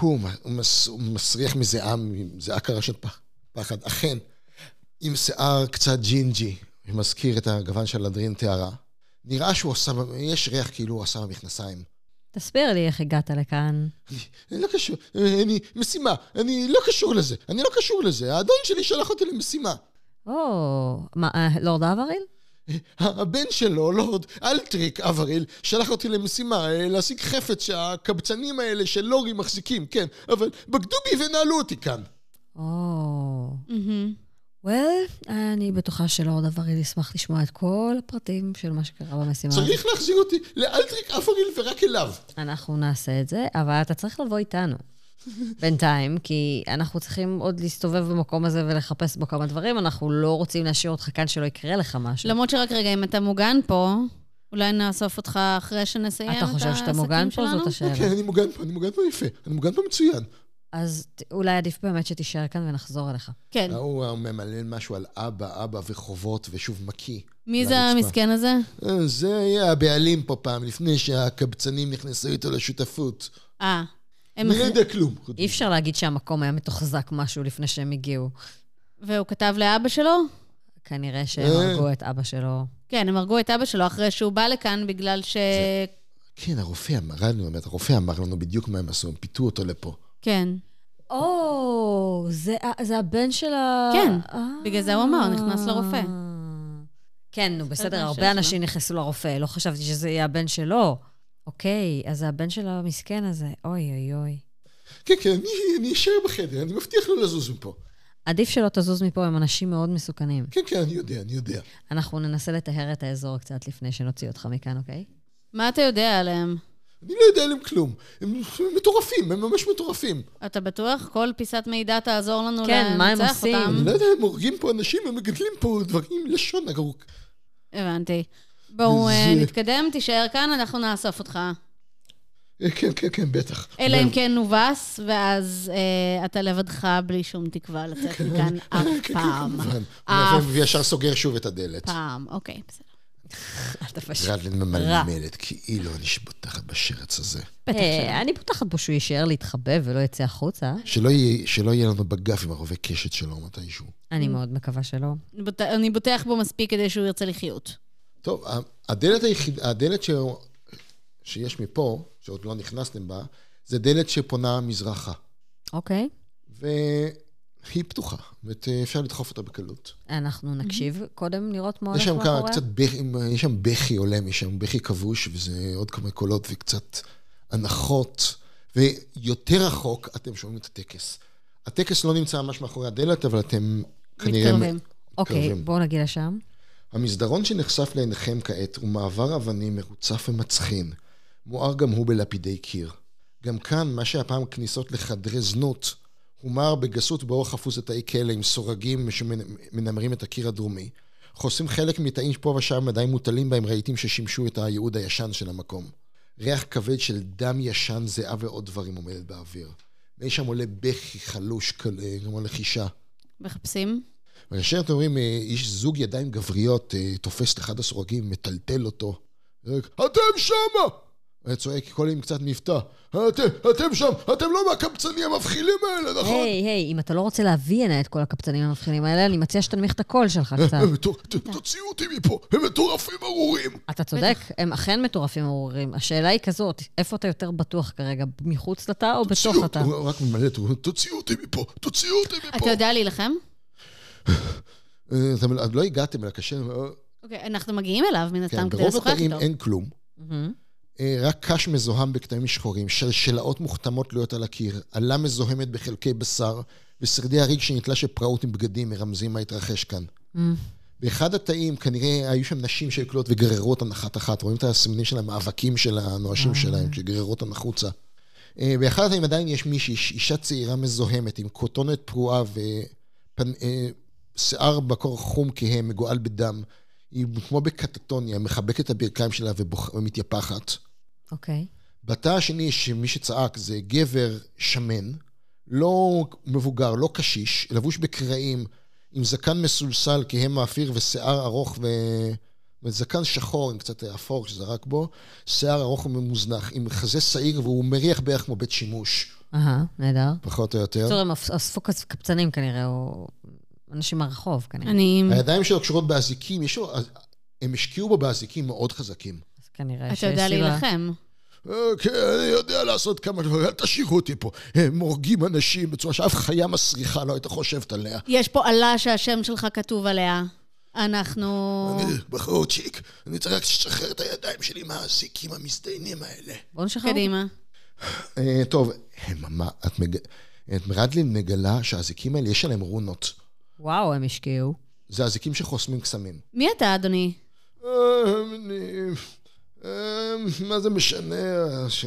הוא, מ- הוא, מס, הוא מסריח מזיעם, זיעה קרשת פח, פחד, אכן, עם שיער קצת ג'ינג'י, שמזכיר את הגוון של אדרין טהרה. נראה שהוא עשה, יש ריח כאילו הוא עשה במכנסיים.
תסביר לי איך הגעת לכאן.
אני לא קשור, אני, משימה, אני לא קשור לזה, אני לא קשור לזה, האדון שלי שלח אותי למשימה.
או, מה, אה, לורד אבריל?
הבן שלו, לורד אלטריק אבריל, שלח אותי למשימה אה, להשיג חפץ שהקבצנים האלה של לורי מחזיקים, כן, אבל בגדו בי ונעלו אותי כאן.
או.
מהמם.
וול, אני בטוחה שלורד אבריל ישמח לשמוע את כל הפרטים של מה שקרה במשימה. הזאת.
צריך להחזיר אותי לאלטריק אפריל ורק אליו.
אנחנו נעשה את זה, אבל אתה צריך לבוא איתנו. בינתיים, כי אנחנו צריכים עוד להסתובב במקום הזה ולחפש בו כמה דברים, אנחנו לא רוצים להשאיר אותך כאן שלא יקרה לך משהו.
למרות שרק רגע, אם אתה מוגן פה, אולי נאסוף אותך אחרי שנסיים את
אתה
העסקים שלנו?
חושב שאתה מוגן פה? זאת
כן,
השאלה.
אני מוגן פה, אני מוגן פה יפה, אני מוגן פה מצוין.
אז ת- אולי עדיף באמת שתישאר כאן ונחזור אליך.
כן.
ההוא ממלן משהו על אבא, אבא וחובות, ושוב מקיא.
מי זה
לרצפה.
המסכן הזה?
אה, זה היה הבעלים פה פעם, לפני שהקבצנים נכנסו איתו לשותפות.
אה. הם-
אני לא יודע כלום. חוץ
אי אפשר להגיד שהמקום היה מתוחזק משהו לפני שהם הגיעו.
והוא כתב לאבא שלו?
כנראה שהם
אה.
הרגו את אבא שלו.
כן, הם הרגו את אבא שלו אחרי שהוא בא לכאן בגלל ש...
כן, הרופא אמר לנו, באמת, הרופא אמר לנו בדיוק מה הם עשו, הם פיתו אותו לפה.
כן.
או, זה, ה- זה הבן של ה...
כן,
אה.
בגלל זה הוא אמר, נכנס לרופא.
כן, נו, בסדר,
הבן
הרבה
שלו.
אנשים נכנסו לרופא, לא חשבתי שזה יהיה הבן שלו. אוקיי, אז זה הבן של המסכן הזה, אוי אוי אוי.
כן, כן, אני- אני אשאר בחדר, אני מבטיח לא לזוז מפה.
עדיף שלא תזוז מפה, הם אנשים מאוד מסוכנים.
כן, כן, אני יודע, אני יודע.
אנחנו ננסה לטהר את האזור קצת לפני שנוציא אותך מכאן, אוקיי?
מה אתה יודע עליהם?
אני לא יודע עליהם כלום. הם מטורפים, הם ממש מטורפים.
אתה בטוח? כל פיסת מידע תעזור לנו
כן, מה הם
לנצח
עושים?
אותם.
אני לא יודע, הם הורגים פה אנשים, הם מגדלים פה דברים, לשון ארוכה.
הבנתי. בואו אה,
זה-
נתקדם, תישאר כאן, אנחנו נאסוף אותך.
אה, כן, כן, כן, בטח.
אלא אם כן נובס, ואז אה, אתה לבדך בלי שום תקווה לצאת
כן.
מכאן
אה,
אף פעם.
כמובן.
אף
כן. וישר סוגר שוב את הדלת.
פעם, אוקיי, בסדר.
אל תפש.
רדלין ממלמלת, כאילו אני שבוטחת בשרץ הזה.
בטח שלא.
אה, אני פותחת בו שהוא יישאר להתחבא ולא יצא החוצה.
שלא יהיה- שלא יהיה לנו בגף עם הרובה קשת שלו מתישהו.
אני מאוד מקווה שלא.
אני בוט- אני בוטח בו מספיק כדי שהוא ירצה לחיות.
טוב, ה- הדלת היחידה, הדלת ש... שיש מפה, שעוד לא נכנסתם בה, זה דלת שפונה מזרחה.
אוקיי,
והיא פתוחה, ואת- אפשר לדחוף אותה בקלות.
אנחנו נקשיב קודם לראות מה
יש
הולך
שם כמה,
מאחוריה.
קצת בכי, יש שם בכי עולה משם, בכי כבוש, וזה עוד כמה קולות וקצת הנחות. ויותר רחוק, אתם שומעים את הטקס. הטקס לא נמצא ממש מאחורי הדלת, אבל אתם כנראה...
מתקרבים.
אוקיי,
מתקרבים.
בואו נגיע לשם.
המסדרון שנחשף לעיניכם כעת הוא מעבר אבנים מרוצף ומצחין, מואר גם הוא בלפידי קיר. גם כאן, מה שהיה פעם כניסות לחדרי זנות, הומר בגסות באור חפוז לתאי כלא עם סורגים שמנמרים את הקיר הדרומי. חוסמים חלק מתאים פה ושם עדיין מוטלים בהם רהיטים ששימשו את הייעוד הישן של המקום. ריח כבד של דם ישן, זיעה ועוד דברים עומדת באוויר. מאי שם עולה בכי חלוש, כל- כמו לחישה.
מחפשים?
וכאשר אתם רואים אה, איש זוג ידיים גבריות אה, תופס את אחד הסורגים, מטלטל אותו, זורק, אתם שמה! היה צועק כל עם קצת מבטא, אתם, אתם שם, אתם לא מהקבצנים המבחילים האלה, נכון?
היי, היי, אם אתה לא רוצה להביא הנה את כל הקבצנים המבחינים האלה, אני מציעה שתנמיך את הקול שלך קצת.
"הם מטור- ת- תוציאו אותי מפה, הם מטורפים ארורים!
אתה צודק, הם אכן מטורפים ארורים. השאלה היא כזאת, איפה אתה יותר בטוח כרגע? מחוץ לתא או בתוך
"תוציאו-"
התא?
הוא רק ממלא, את הוא, תוציאו אותי מפה, תוציאו אותי
אתה
מפה!
יודע להילחם?
אה, אתם עוד לא הגעתם אל הקשר, אה,
אוקיי, אנחנו מגיעים אליו מן הסתם
כן,
כדי
ברוב
לשוחח
התאים
איתו.
אין כלום.
מהמם.
אה, רק קש מזוהם בכתמים שחורים, שלשלאות מוכתמות תלויות על הקיר, עלה מזוהמת בחלקי בשר, ושרידי הריג שנתלש בפראות עם בגדים מרמזים מה התרחש כאן. באחד התאים כנראה היו שם נשים שהקלוט וגררו אותן אחת אחת, רואים את הסימנים של המאבקים של הנואשים שלהם, שגררו אותן החוצה. אה, באחד התאים עדיין יש מישהי, איש- אישה צעירה מזוהמת, עם כותונת פרועה ושיער בקור חום כהה, מגואל בדם. היא כמו בקטטוניה, מחבקת את הברכיים שלה ובוכ- ומתייפחת.
אוקיי.
בתא השני, שמי שצעק זה גבר שמן, לא מבוגר, לא קשיש, לבוש בקרעים, עם זקן מסולסל כהם מאפיר ושיער ארוך ו... וזקן שחור עם קצת אפור שזרק בו, שיער ארוך וממוזנח, עם חזה שעיר והוא מריח בערך כמו בית שימוש,
אהה, נהדר.
פחות או יותר.
בקיצור, הם אספו כס- קבצנים כנראה, או אנשים מהרחוב כנראה.
אני...
הידיים שלו קשורות באזיקים, יש לו... הם השקיעו בו באזיקים מאוד חזקים.
אז כנראה שיש
אתה
סיבה.
יודע להילחם.
אה, כן, אני יודע לעשות כמה דברים, אל תשאירו אותי פה. הם הורגים אנשים בצורה שאף חיה מסריחה לא הייתה חושבת עליה.
יש פה עלה שהשם שלך כתוב עליה. אנחנו...
אני בחורצ'יק, אני צריך רק לשחרר את הידיים שלי מהאזיקים המזדיינים האלה.
בואו נשחרר. אותו.
קדימה.
אה, טוב, הם ממ- את מג- את מרדלין מגלה שהאזיקים האלה, יש עליהם רונות.
וואו, הם השקיעו.
זה אזיקים שחוסמים קסמים.
מי אתה, אדוני?
אמ, מה זה משנה,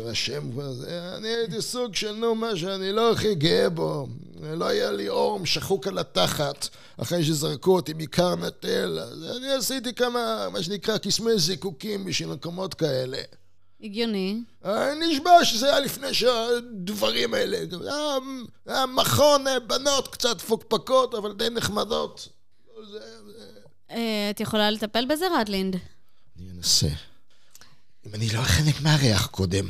השם כבר זה? אני הייתי סוג של נו, מה שאני לא הכי גאה בו. לא היה לי אורם שחוק על התחת, אחרי שזרקו אותי מכר נטל. אז אני עשיתי כמה, מה שנקרא, קסמי זיקוקים בשביל מקומות כאלה.
הגיוני.
אני נשבע שזה היה לפני שהדברים האלה. היה- היה מכון אה, בנות קצת פוקפקות, אבל די נחמדות.
אה, את יכולה לטפל בזה, רדלינד?
אני מנסה. אם אני לא חלק מהריח קודם.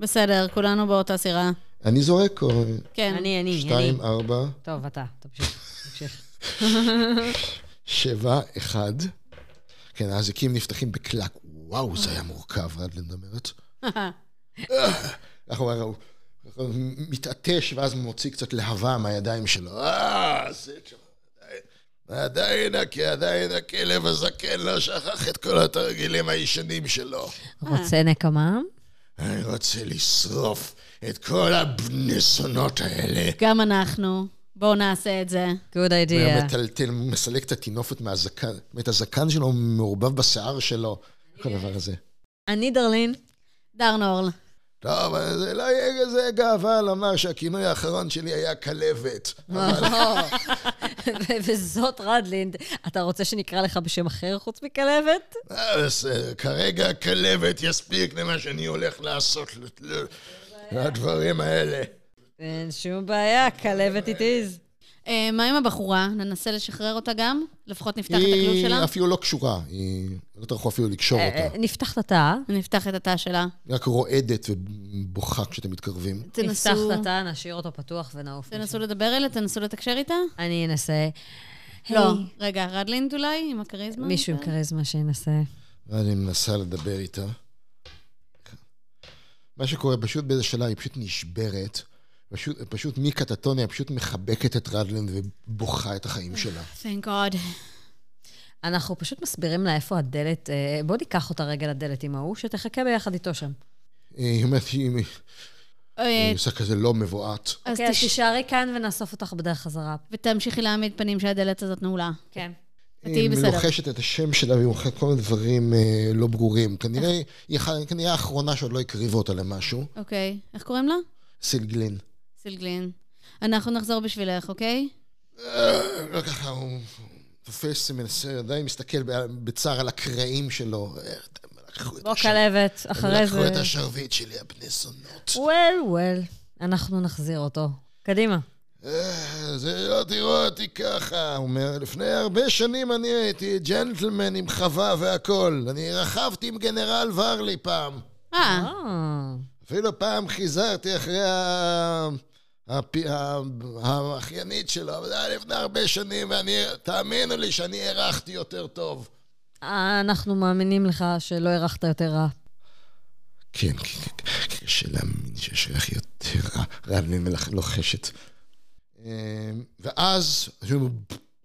בסדר, כולנו באותה סירה.
אני זורק או...
כן.
אני, אני, אני.
שתיים, ארבע,
טוב, אתה, תמשיך. תמשיך.
שבע, אחד. כן, האזיקים נפתחים בקלק. וואו, זה היה מורכב, רדלין אומרת. אנחנו ראו, הוא מתעטש ואז מוציא קצת להבה מהידיים שלו. אה, זה שם. עדיין הכי, עדיין הכלב הזקן לא שכח את כל התרגילים הישנים שלו.
רוצה נקמה?
אני רוצה לשרוף את כל הבנסונות האלה.
גם אנחנו. בואו נעשה את זה.
Good idea.
ומטלטל, מסלק את הטינופת מהזקן. זאת אומרת, הזקן שלו מעורבב בשיער שלו, כל הדבר הזה.
אני דרלין.
דרנורל.
טוב, אז זה לא יהיה כזה גאווה לומר שהכינוי האחרון שלי היה כלבת.
ו- וזאת רדלינד. אתה רוצה שנקרא לך בשם אחר חוץ מכלבת?
אה, בסדר, כרגע כלבת יספיק למה שאני הולך לעשות ל- ל- לדברים האלה.
אין שום בעיה, כלבת it
לא
is.
אה, מה עם הבחורה? ננסה לשחרר אותה גם? לפחות נפתח את הכלוב
היא
שלה?
אפילו לא קשורה, היא... לא טרחו אפילו לקשור
אה,
אותה.
אה, נפתח את התא.
נפתח את התא שלה.
היא רק רועדת ובוכה כשאתם מתקרבים.
נפתח
תנסו,
את התא, נשאיר אותו פתוח ונעוף.
תנסו
אוקיי.
לדבר אליה, תנסו לתקשר איתה?
אני אנסה.
לא.
היי,
רגע, רדלינד אולי? עם הכריזמה?
מישהו עם כריזמה שינסה.
ואני מנסה לדבר איתה. מה שקורה פשוט באיזה שלב, היא פשוט נשברת. פשוט, פשוט מקטטוניה, פשוט מחבקת את רדלנד ובוכה את החיים שלה.
Thank God.
אנחנו פשוט מסבירים לה איפה הדלת, אה, בוא ניקח אותה רגע לדלת עם ההוא, שתחכה ביחד איתו שם.
היא אומרת, היא
אה,
היא עושה כזה לא מבועת.
אז
אוקיי, אז
תש-
תישארי כאן ונאסוף אותך בדרך חזרה.
ותמשיכי להעמיד פנים שהדלת הזאת נעולה.
כן.
תהיי
היא
בסדר.
לוחשת את השם שלה והיא מוכרת כל מיני דברים אה, לא ברורים.
אה.
כנראה, היא ח- כנראה האחרונה שעוד לא הקריבו אותה למשהו.
אוקיי. איך קוראים לה?
סילגלין.
סילגלין. אנחנו נחזור בשבילך, אוקיי?
אה, לא ככה, הוא תופס, מנסה, עדיין מסתכל ב- בצער על הקרעים שלו. אה, הם לקחו את
בוא,
הש-
כלבת,
הם
אחרי
לקחו את
זה.
השרביט שלי, הבני זונות.
וול, וול. אנחנו נחזיר אותו. קדימה.
אה, זה לא תראו אותי ככה, הוא אומר. לפני הרבה שנים אני הייתי ג'נטלמן עם חווה והכול. אני רכבתי עם גנרל ורלי פעם.
אה,
אה,
אפילו פעם חיזרתי אחרי ה... הפ- ה- האחיינית שלו, אבל זה היה לפני הרבה שנים, ואני, תאמינו לי שאני הערכתי יותר טוב.
אה, אנחנו מאמינים לך שלא הארכת יותר רע.
כן, כן, כן, כן, קשה להאמין שיש ריח יותר רע, רעלין ולוחשת. אמ, ואז,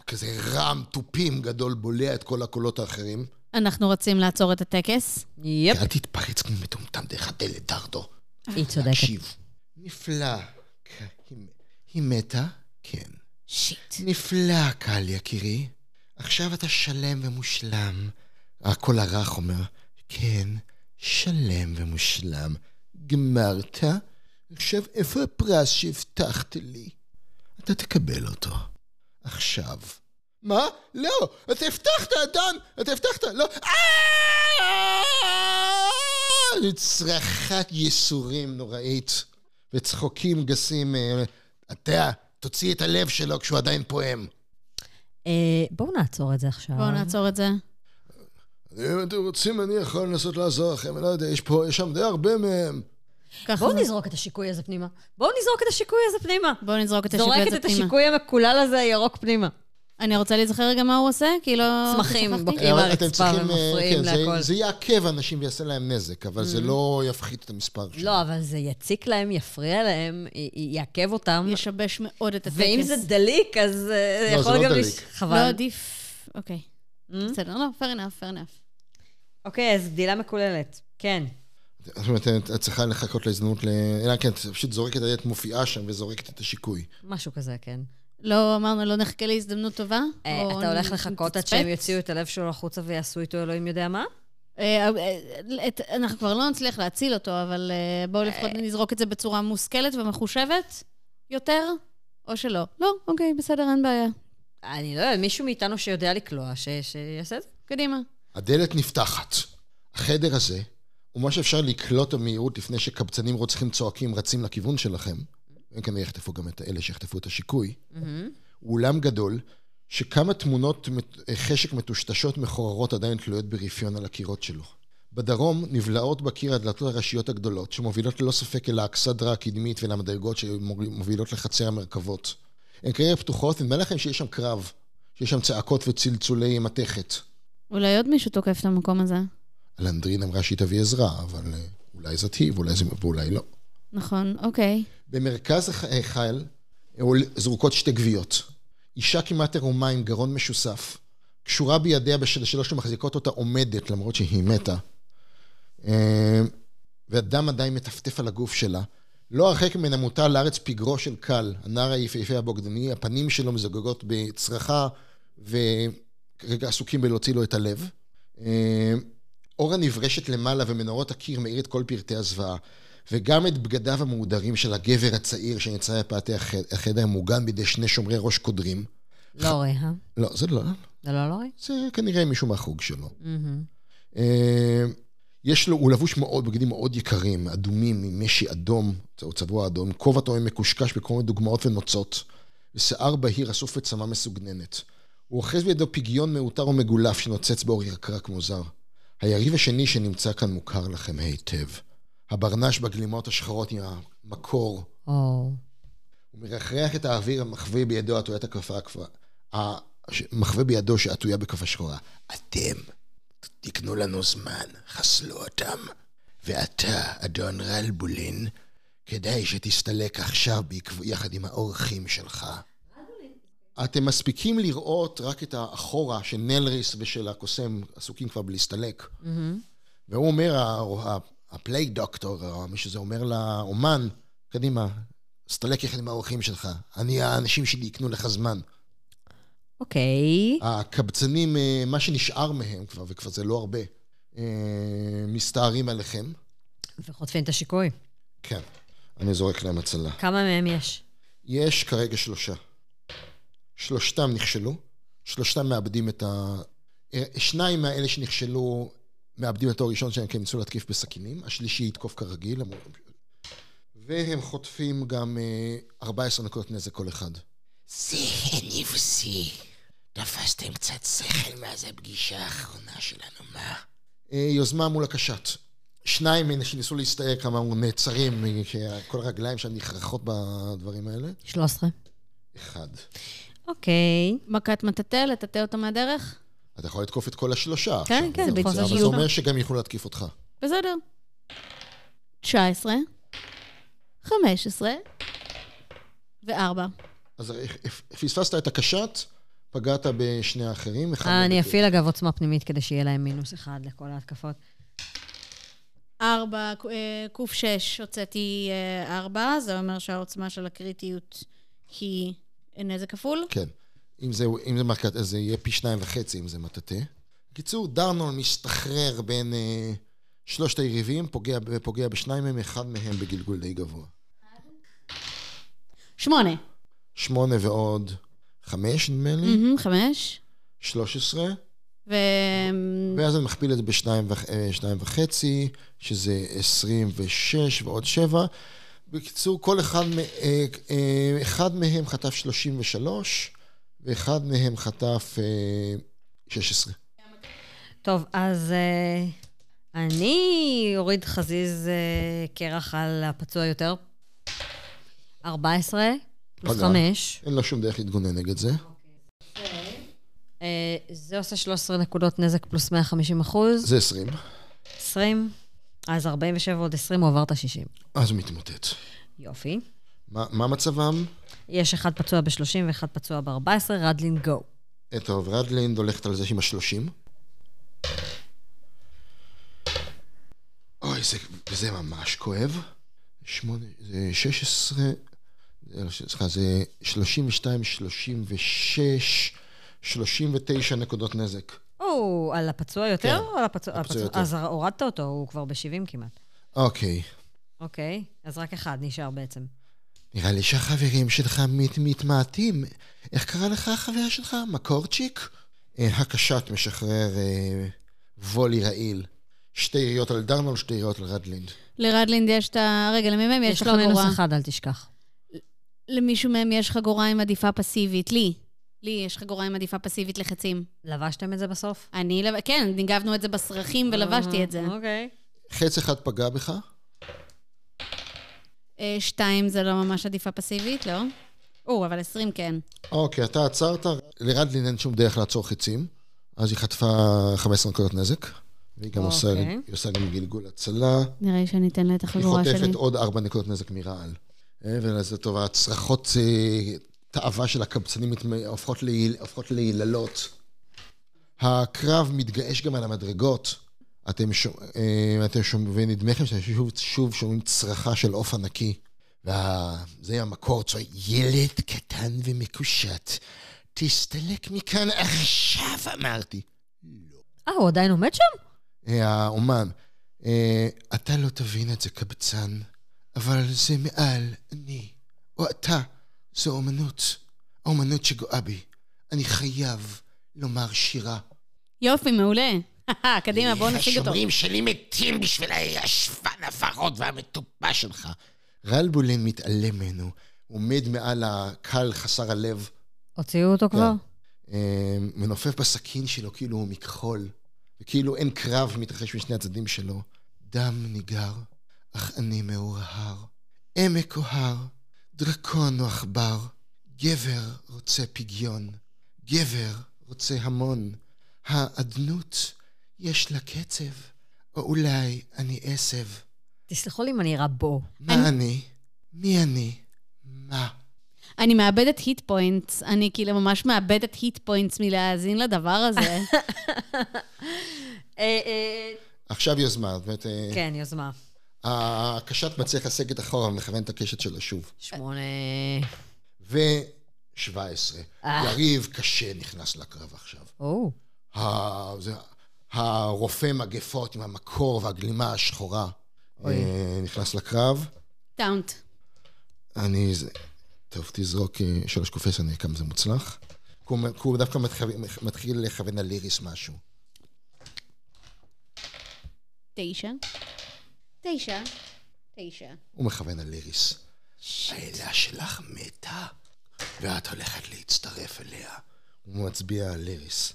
כזה רעם תופים גדול בולע את כל הקולות האחרים.
אנחנו רצים לעצור את הטקס.
יפ,
אל תתפרץ כמו מטומטם דרך הדלת, דרדו.
כן. היא צודקת.
תקשיב. נפלא. כן, היא- היא מתה? כן.
שיט.
נפלא, קהל יקירי. עכשיו אתה שלם ומושלם. הקול הרך אומר, כן, שלם ומושלם. גמרת? עכשיו, איפה הפרס שהבטחת לי? אתה תקבל אותו. עכשיו. מה? לא! אתה הבטחת, אדון! אתה הבטחת! לא! אה! לצרחת ייסורים נוראית וצחוקים גסים. אה, אתה, תוציא את הלב שלו כשהוא עדיין פועם.
אה, בואו נעצור את זה עכשיו.
בואו נעצור את זה.
אם אתם רוצים, אני יכול לנסות לעזור לכם, אני לא יודע, יש פה, יש שם די הרבה מהם.
ככה
בואו
זה.
נזרוק את השיקוי הזה פנימה. בואו נזרוק את השיקוי הזה פנימה.
בואו נזרוק את השיקוי
זורקת
הזה
את
פנימה.
השיקוי המקולל הזה הירוק פנימה.
אני רוצה להיזכר רגע מה הוא עושה, כי לא...
צמחים,
שכחתי.
בוקר. עם
אבל
הרצפה
אתם צריכים, אה,
ומפריעים
כן, זה-
להכל. Mm-hmm.
זה יעכב אנשים ויעשה להם נזק, אבל זה לא יפחית את המספר שלהם.
לא, אבל זה יציק להם, יפריע להם, י- י- יעכב אותם.
ישבש מאוד את הטקס.
ואם זה דליק, אז אה,
לא,
יכול
זה לא
גם...
דליק.
לש-
לא
חבל. Mm?
עדיף... אוקיי.
Hmm?
בסדר, לא, fair enough, fair enough.
אוקיי, אז גדילה מקוללת. כן.
זאת אומרת, את- את צריכה לחכות להזדמנות ל... אלא כן, את פשוט זורקת, את מופיעה שם וזורקת את השיקוי.
משהו כזה, כן.
לא אמרנו, לא נחכה להזדמנות טובה?
אה,
או
אתה הולך
נ-
לחכות עד
נתצפת?
שהם יוציאו את הלב שלו החוצה ויעשו איתו אלוהים יודע מה?
אה, אה, את- אנחנו כבר לא נצליח להציל אותו, אבל אה, בואו לפחות נזרוק את זה בצורה מושכלת ומחושבת יותר, או שלא. לא, אוקיי, בסדר, אין בעיה.
אני לא יודע, מישהו מאיתנו שיודע לקלוע, ש- שיעשה את זה.
קדימה.
הדלת נפתחת. החדר הזה הוא מה שאפשר לקלוט במהירות לפני שקבצנים רוצחים צועקים רצים לכיוון שלכם. כן, הם כנראה יחטפו גם את אלה שיחטפו את השיקוי. הוא אולם גדול, שכמה תמונות מת- אה, חשק מטושטשות מכוערות עדיין תלויות ברפיון על הקירות שלו. בדרום נבלעות בקיר הדלתות הראשיות הגדולות, שמובילות ללא ספק אל האכסדרה הקדמית ולמדרגות שמובילות לחצר המרכבות. הן כנראה פתוחות, ונדמה לכם שיש שם קרב, שיש שם צעקות וצלצולי מתכת.
אולי עוד מישהו תוקף את המקום הזה.
אלנדרין אמרה שהיא תביא עזרה, אבל אה, אולי זאת היא ואולי, זה, ואולי לא.
נכון, אוקיי.
במרכז הח- ההיכל עול- זרוקות שתי גוויות. אישה כמעט ערומה עם גרון משוסף, קשורה בידיה בשלוש שמחזיקות אותה עומדת, למרות שהיא מתה. אה, והדם עדיין מטפטף על הגוף שלה. לא הרחק ממנה מוטל לארץ פגרו של קל, הנער היפהפה הבוגדני, הפנים שלו מזוגגות בצרחה, וכרגע עסוקים בלהוציא לו את הלב. אה, אור הנברשת למעלה ומנורות הקיר מאיר את כל פרטי הזוועה. וגם את בגדיו המהודרים של הגבר הצעיר שנמצא בפאתי הח- החדר המוגן בידי שני שומרי ראש קודרים.
לורי, אה?
לא, זה לא,
זה לא לורי?
זה כנראה מישהו מהחוג שלו.
מהמם.
אה, יש לו, הוא לבוש מאוד, בגדים מאוד יקרים, אדומים, עם משי אדום, או צבוע אדום, כובע טועם מקושקש בכל מיני דוגמאות ונוצות, ושיער בהיר אסוף וצמה מסוגננת. הוא אוחז בידו פגיון מעוטר ומגולף שנוצץ באור ירקרק מוזר. היריב השני שנמצא כאן מוכר לכם היטב. הברנש בגלימות השחרות עם המקור
או,
הוא מרחרח את האוויר המחווה בידו עטוית הכפה הכפרה. המחווה בידו שעטויה בכפה שחורה. אתם תקנו לנו זמן, חסלו אותם. ואתה, אדון רלבולין, כדאי שתסתלק עכשיו בעקב... יחד עם האורחים שלך. אתם מספיקים לראות רק את האחורה של נלריס ושל הקוסם עסוקים כבר בלהסתלק. והוא אומר, ה- ה- הפלייג דוקטור, או מי שזה אומר לאומן, קדימה, סתלק יחד עם האורחים שלך. אני, האנשים שלי יקנו לך זמן.
אוקיי.
הקבצנים, אה, מה שנשאר מהם כבר, וכבר זה לא הרבה, אה, מסתערים עליכם.
וחוטפים את השיקוי.
כן, אני זורק להם הצלה.
כמה מהם יש?
יש כרגע שלושה. שלושתם נכשלו, שלושתם מאבדים את ה... אה, שניים מהאלה שנכשלו מאבדים את התואר הראשון שלהם כי הם ניסו להתקיף בסכינים, השלישי יתקוף כרגיל, למרות- והם חוטפים גם אה, 14 נקודות נזק כל אחד. זה הנבזי. תפסתם קצת שכל מאז הפגישה האחרונה שלנו, מה? אה, יוזמה מול הקשת. שניים מן שניסו להסתער כמה נעצרים, אה, שכל הרגליים שם נכרחות בדברים האלה.
13.
אחד.
אוקיי.
מכת מטאטא, לטאטא אותה מהדרך?
אתה יכול לתקוף את כל השלושה.
כן,
עכשיו,
כן,
אם אתה
בעקבות
רוצה, אבל זה
השיוך.
אומר שגם יוכלו להתקיף אותך.
בסדר. 19, 15 ו-4.
אז אה, פספסת את הקשת, פגעת בשני האחרים. אחד
אה, אני
נגד.
אפעיל אגב עוצמה פנימית כדי שיהיה להם מינוס אחד לכל ההתקפות.
4, ק6, אה, הוצאתי 4, זה אומר שהעוצמה של הקריטיות היא אה, נזק כפול.
כן. אם זה, אם זה מרקט, אז זה יהיה פי שניים וחצי אם זה מטאטא. בקיצור, דרנון מסתחרר בין אה, שלושת היריבים, פוגע, פוגע בשניים מהם, אחד מהם בגלגול די גבוה.
8,
שמונה ועוד חמש, נדמה
Mm.
לי,
5,
שלוש עשרה,
ו...
ואז אני מכפיל את זה בשניים וח- אה, שניים וחצי, שזה עשרים ושש ועוד שבע. בקיצור, כל אחד, מ- אה, אה, אחד מהם חטף שלושים ושלוש, ואחד מהם חטף אה, שש עשרה.
טוב, אז אה, אני אוריד חזיז אה, קרח על הפצוע יותר. 14 פלוס
פגע.
5.
אין לו שום דרך להתגונן נגד זה.
אה, זה עושה 13 נקודות נזק פלוס 150 אחוז.
זה 20,
20. אז 47 עוד 20, הוא עבר את ה-60.
אז הוא מתמוטט.
יופי.
מה, מה מצבם?
יש אחד פצוע ב-30 ואחד פצוע ב-14, רדלין גו.
אה, טוב, רדלינד הולכת על זה עם השלושים. אוי, זה, זה ממש כואב. שמונה, זה 16, זה לא, סליחה, זה 32, 36, 39 נקודות נזק.
או, על הפצוע יותר?
כן,
או על הפצוע?
הפצוע
הפצוע-
יותר.
אז הורדת אותו, הוא כבר ב-70 כמעט.
אוקיי,
אוקיי, אז רק אחד נשאר בעצם.
נראה לי שהחברים שלך מת, מתמעטים. איך קרא לך החבר שלך? מקורצ'יק? אה, הקשת משחרר אה, וולי רעיל. שתי יריות על דרנול, שתי יריות על רדלינד.
לרדלינד יש את ה... רגע, למי מהם יש
יש לו מינוס
חגורה?
אחד, אל תשכח.
למישהו מהם יש חגורה עם עדיפה פסיבית. לי. לי יש חגורה עם עדיפה פסיבית לחצים.
לבשתם את זה בסוף?
אני, לב- כן, ניגבנו את זה בסרחים ולבשתי את זה.
אה, אוקיי.
חץ אחד פגע בך,
אה, שתיים זה לא ממש עדיפה פסיבית, לא? או, אבל עשרים כן.
אוקיי, אתה עצרת, לרדלין אין שום דרך לעצור חיצים, אז היא חטפה 15 נקודות נזק, והיא גם עושה,
אוקיי.
היא עושה גם גלגול הצלה,
נראה לי שאני אתן לה את
היא
החגורה שלי.
חוטפת עוד 4 נקודות נזק מרעל. אה, ולזה טוב, הצרחות אה, תאווה של הקבצנים מת- הופכות להיל- הופכות להיללות. הקרב מתגעש גם על המדרגות. אתם אה, שומעים, שומע, ונדמה לכם שאתם שוב, שוב שומעים צרחה של עוף ענקי. וזה המקור צועק, ילד קטן ומקושט, תסתלק מכאן עכשיו, אמרתי.
אה, הוא עדיין עומד שם?
אה, האומן, אה, אתה לא תבין את זה, קבצן, אבל זה מעל אני, או אתה. זו אומנות. האומנות שגואה בי. אני חייב לומר שירה.
יופי, מעולה. קדימה, בואו נשיג אותו.
השומרים שלי מתים בשביל הישבן הוורוד והמטופש שלך.
רלבולין מתעלם ממנו, הוא עומד מעל הקהל חסר הלב,
הוציאו אותו כבר?
אה, מנופף בסכין שלו כאילו הוא מכחול, וכאילו אין קרב מתרחש משני הצדדים שלו. דם ניגר, אך אני מאורהר. עמק או הר, דרקון או עכבר, גבר רוצה פגיון, גבר רוצה המון. האדנות יש לה קצב, או אולי אני עשב.
תסלחו לי אם אני אירה בו.
מה אני? מי אני? מה?
אני מאבדת היט פוינטס, אני כאילו ממש מאבדת היט פוינטס מלהאזין לדבר הזה.
אה, אה,
עכשיו יוזמה, זאת אומרת, אה,
כן, יוזמה.
הקשת מצליח לסגת אחורה ולכוון את הקשת שלה שוב.
שמונה...
ו-17. יריב קשה נכנס לקרב עכשיו.
או,
ה- זה- הרופא מגפות עם המקור והגלימה השחורה אה, נכנס לקרב.
טאונט.
אני... זה- טוב, תזרוק אה, שלוש קופס, אני אראה כמה זה מוצלח. כי הוא מ- כי הוא דווקא מתח- מתחיל לכוון על ליריס משהו.
תשע. תשע. תשע.
הוא מכוון על ליריס. האלה שלך מתה, ואת הולכת להצטרף אליה. הוא מצביע על ליריס.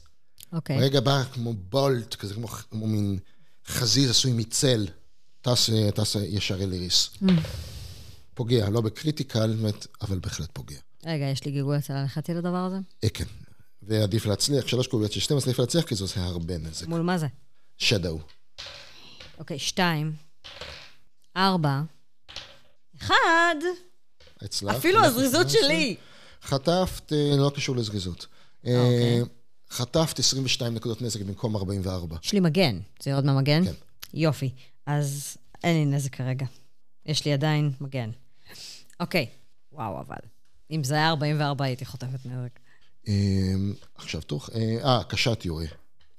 אוקיי.
ברגע בא כמו בולט, כזה כמו, כמו מין חזיז עשוי מצל, טס, אה, טס אה, ישר אל איריס.
Mm.
פוגע, לא בקריטיקל, באמת, אבל בהחלט פוגע.
רגע, יש לי גלגול הצלה הלכתי לדבר הזה?
אה, כן. ועדיף להצליח, שלוש קוביות של 12 עדיף להצליח, כי זה עושה הרבה נזק.
מול מה זה?
שדו.
אוקיי, שתיים. ארבע. אחד!
הצלחת.
אפילו
אה, אנחנו
הזריזות
נכנסנו.
שלי!
כן. חטפת, אה, לא קשור לזריזות.
אוקיי.
אה, חטפת 22 נקודות נזק במקום 44.
יש לי מגן. זה יורד מהמגן?
כן.
יופי. אז אין לי נזק כרגע. יש לי עדיין מגן. אוקיי. וואו, אבל. אם זה היה 44, הייתי חוטפת נזק.
אה, עכשיו תוך... אה, אה, קשת יורה.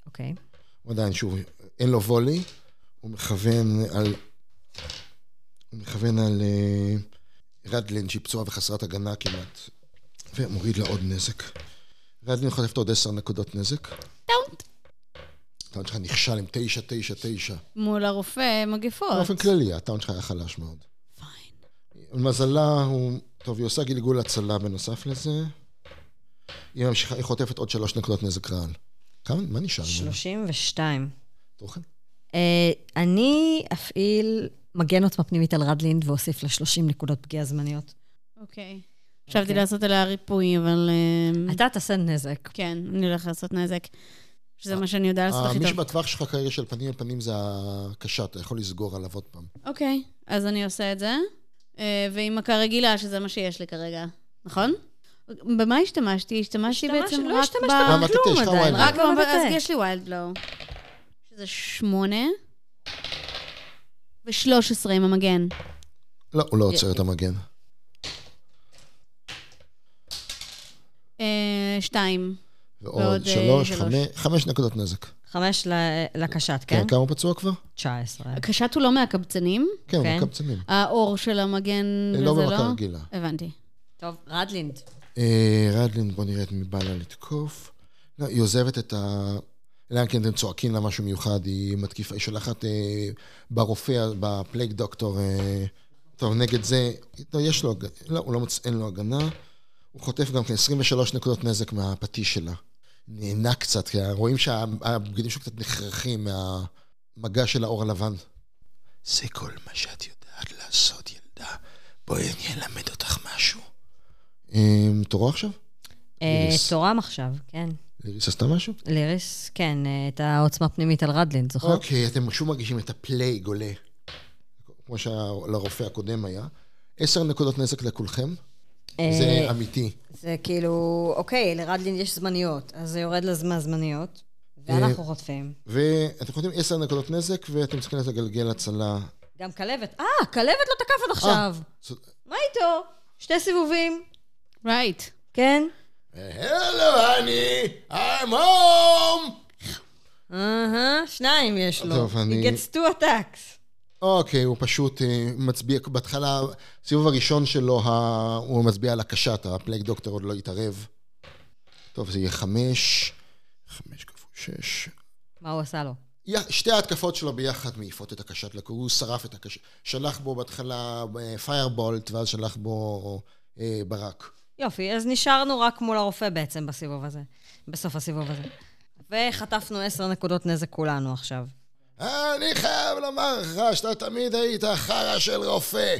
אוקיי.
הוא עדיין, שוב, אין לו וולי, הוא מכוון על... הוא מכוון על אה, רדלין, שהיא פצועה וחסרת הגנה כמעט, ומוריד לה עוד נזק. רדלין חוטפת עוד עשר נקודות נזק.
טאונט.
הטאון שלך נכשל עם תשע, תשע, תשע.
מול הרופא מגפות.
באופן כללי, הטאון שלך היה חלש מאוד. למזלה הוא... טוב, היא עושה גלגול הצלה בנוסף לזה. היא ממשיכה, היא חוטפת עוד שלוש נקודות נזק רעל. כמה, מה נשאר? ממנו?
32.
תוכן?
אה, אני אפעיל מגן עוצמה פנימית על רדלינד ואוסיף לה 30 נקודות פגיעה זמניות.
אוקיי. חשבתי לעשות עליה ריפוי, אבל... אה,
אתה תעשה נזק.
כן, אני הולך לעשות נזק. שזה מה שאני יודעת לעשות הכי
אה, מי
טוב.
שבטווח שלך כרגע של פנים אל פנים זה הקשה, אתה יכול לסגור עליו עוד פעם.
אוקיי, אז אני עושה את זה. אה, ועם מכה רגילה, שזה מה שיש לי כרגע, נכון? במה השתמשתי? השתמשתי
השתמש-
בעצם
לא
רק
השתמשת לא
ב...
אבל
בכלום
יש לך
עדיין,
וואלה.
רק
רק
ב... אז
במדע.
יש לי ויילד בלואו. שזה שמונה. ושלוש עשרה עם המגן.
לא, הוא לא עוצר את המגן.
אה, שתיים.
ועוד
ועוד, אה,
שלוש,
שלוש.
חמש- חמש נקודות נזק.
חמש ל- לקשת, כן?
כן, אוקיי. כמה הוא פצוע כבר?
19.
הקשת הוא לא מהקבצנים,
כן, הוא
כן.
מקבצנים.
האור של המגן וזה
לא
לא?
במכה רגילה.
הבנתי.
טוב, רדלינד.
אה, רדלין, בוא נראה את מי בא לה לתקוף. לא, היא עוזבת את ה... אלא אם כן אתם צועקים לה משהו מיוחד, היא מתקיפה, היא שולחת אה, ברופא, בפלייג דוקטור, אה, טוב, נגד זה, לא, יש לו, הג- לא, הוא לא מוצ... אין לו הגנה. הוא חוטף גם כן 23 נקודות נזק מהפטיש שלה. נהנה קצת, כי רואים שהבגדים שלו קצת נחרחים מהמגע של האור הלבן. זה כל מה שאת יודעת לעשות, ילדה. בואי אני אלמד אותך משהו. אה, תורו עכשיו?
אה,
ליריס.
תורם עכשיו, כן.
ליריס עשתה משהו?
ליריס, כן, אה, את העוצמה הפנימית על רדלינד, זוכר?
אוקיי, אתם שוב מרגישים את הפלייג עולה, כמו שלרופא הקודם היה. עשר נקודות נזק לכולכם,
אה,
זה אמיתי.
זה כאילו, אוקיי, לרדלינד יש זמניות, אז זה יורד לזמן זמניות,
אה.
ואנחנו חוטפים.
ואתם חוטפים עשר נקודות נזק, ואתם צריכים לגלגל הצלה.
גם כלבת. אה, כלבת לא תקף עד עכשיו.
זאת-
מה איתו? שתי סיבובים,
רייט.
כן?
Hello, honey, I'm home!
אהה, שניים יש לו.
טוב, אני-
He gets two attacks.
אוקיי, הוא פשוט אה, מצביע, בהתחלה, בסיבוב הראשון שלו, ה- הוא מצביע על הקשת, הפלייג דוקטור עוד לא התערב. טוב, זה יהיה חמש, חמש כפול שש.
מה הוא עשה לו?
יה- שתי ההתקפות שלו ביחד מעיפות את הקשת לכור, הוא שרף את הקשת, שלח בו בהתחלה פיירבולט, ואז שלח בו אה, ברק.
יופי, אז נשארנו רק מול הרופא בעצם בסיבוב הזה, בסוף הסיבוב הזה. וחטפנו עשר נקודות נזק כולנו עכשיו.
אני חייב לומר לך שאתה תמיד היית חרא של רופא.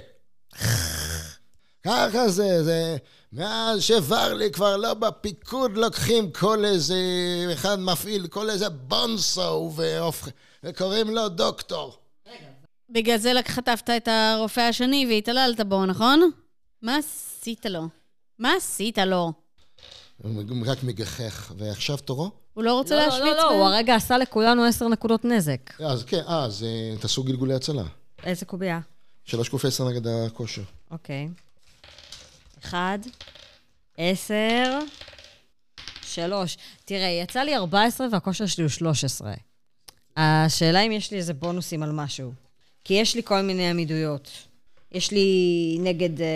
ככה זה, זה... מאז שוורלי כבר לא בפיקוד לוקחים כל איזה... אחד מפעיל כל איזה בונסו והופ... וקוראים לו דוקטור.
בגלל זה לק- חטפת את הרופא השני והתעללת בו, נכון? מה עשית לו? מה עשית לו?
הוא רק מגחך. ועכשיו תורו?
הוא לא רוצה
לא,
להשמיץ?
לא, לא, לא,
ב-
הוא הרגע עשה לכולנו עשר נקודות נזק.
אז כן, אה, אז אה, תעשו גלגולי הצלה.
איזה קובייה?
שלוש קוף עשר נגד הכושר.
אוקיי. אחד, עשר, שלוש. תראה, יצא לי 14 והכושר שלי הוא 13. השאלה אם יש לי איזה בונוסים על משהו. כי יש לי כל מיני עמידויות. יש לי נגד... אה,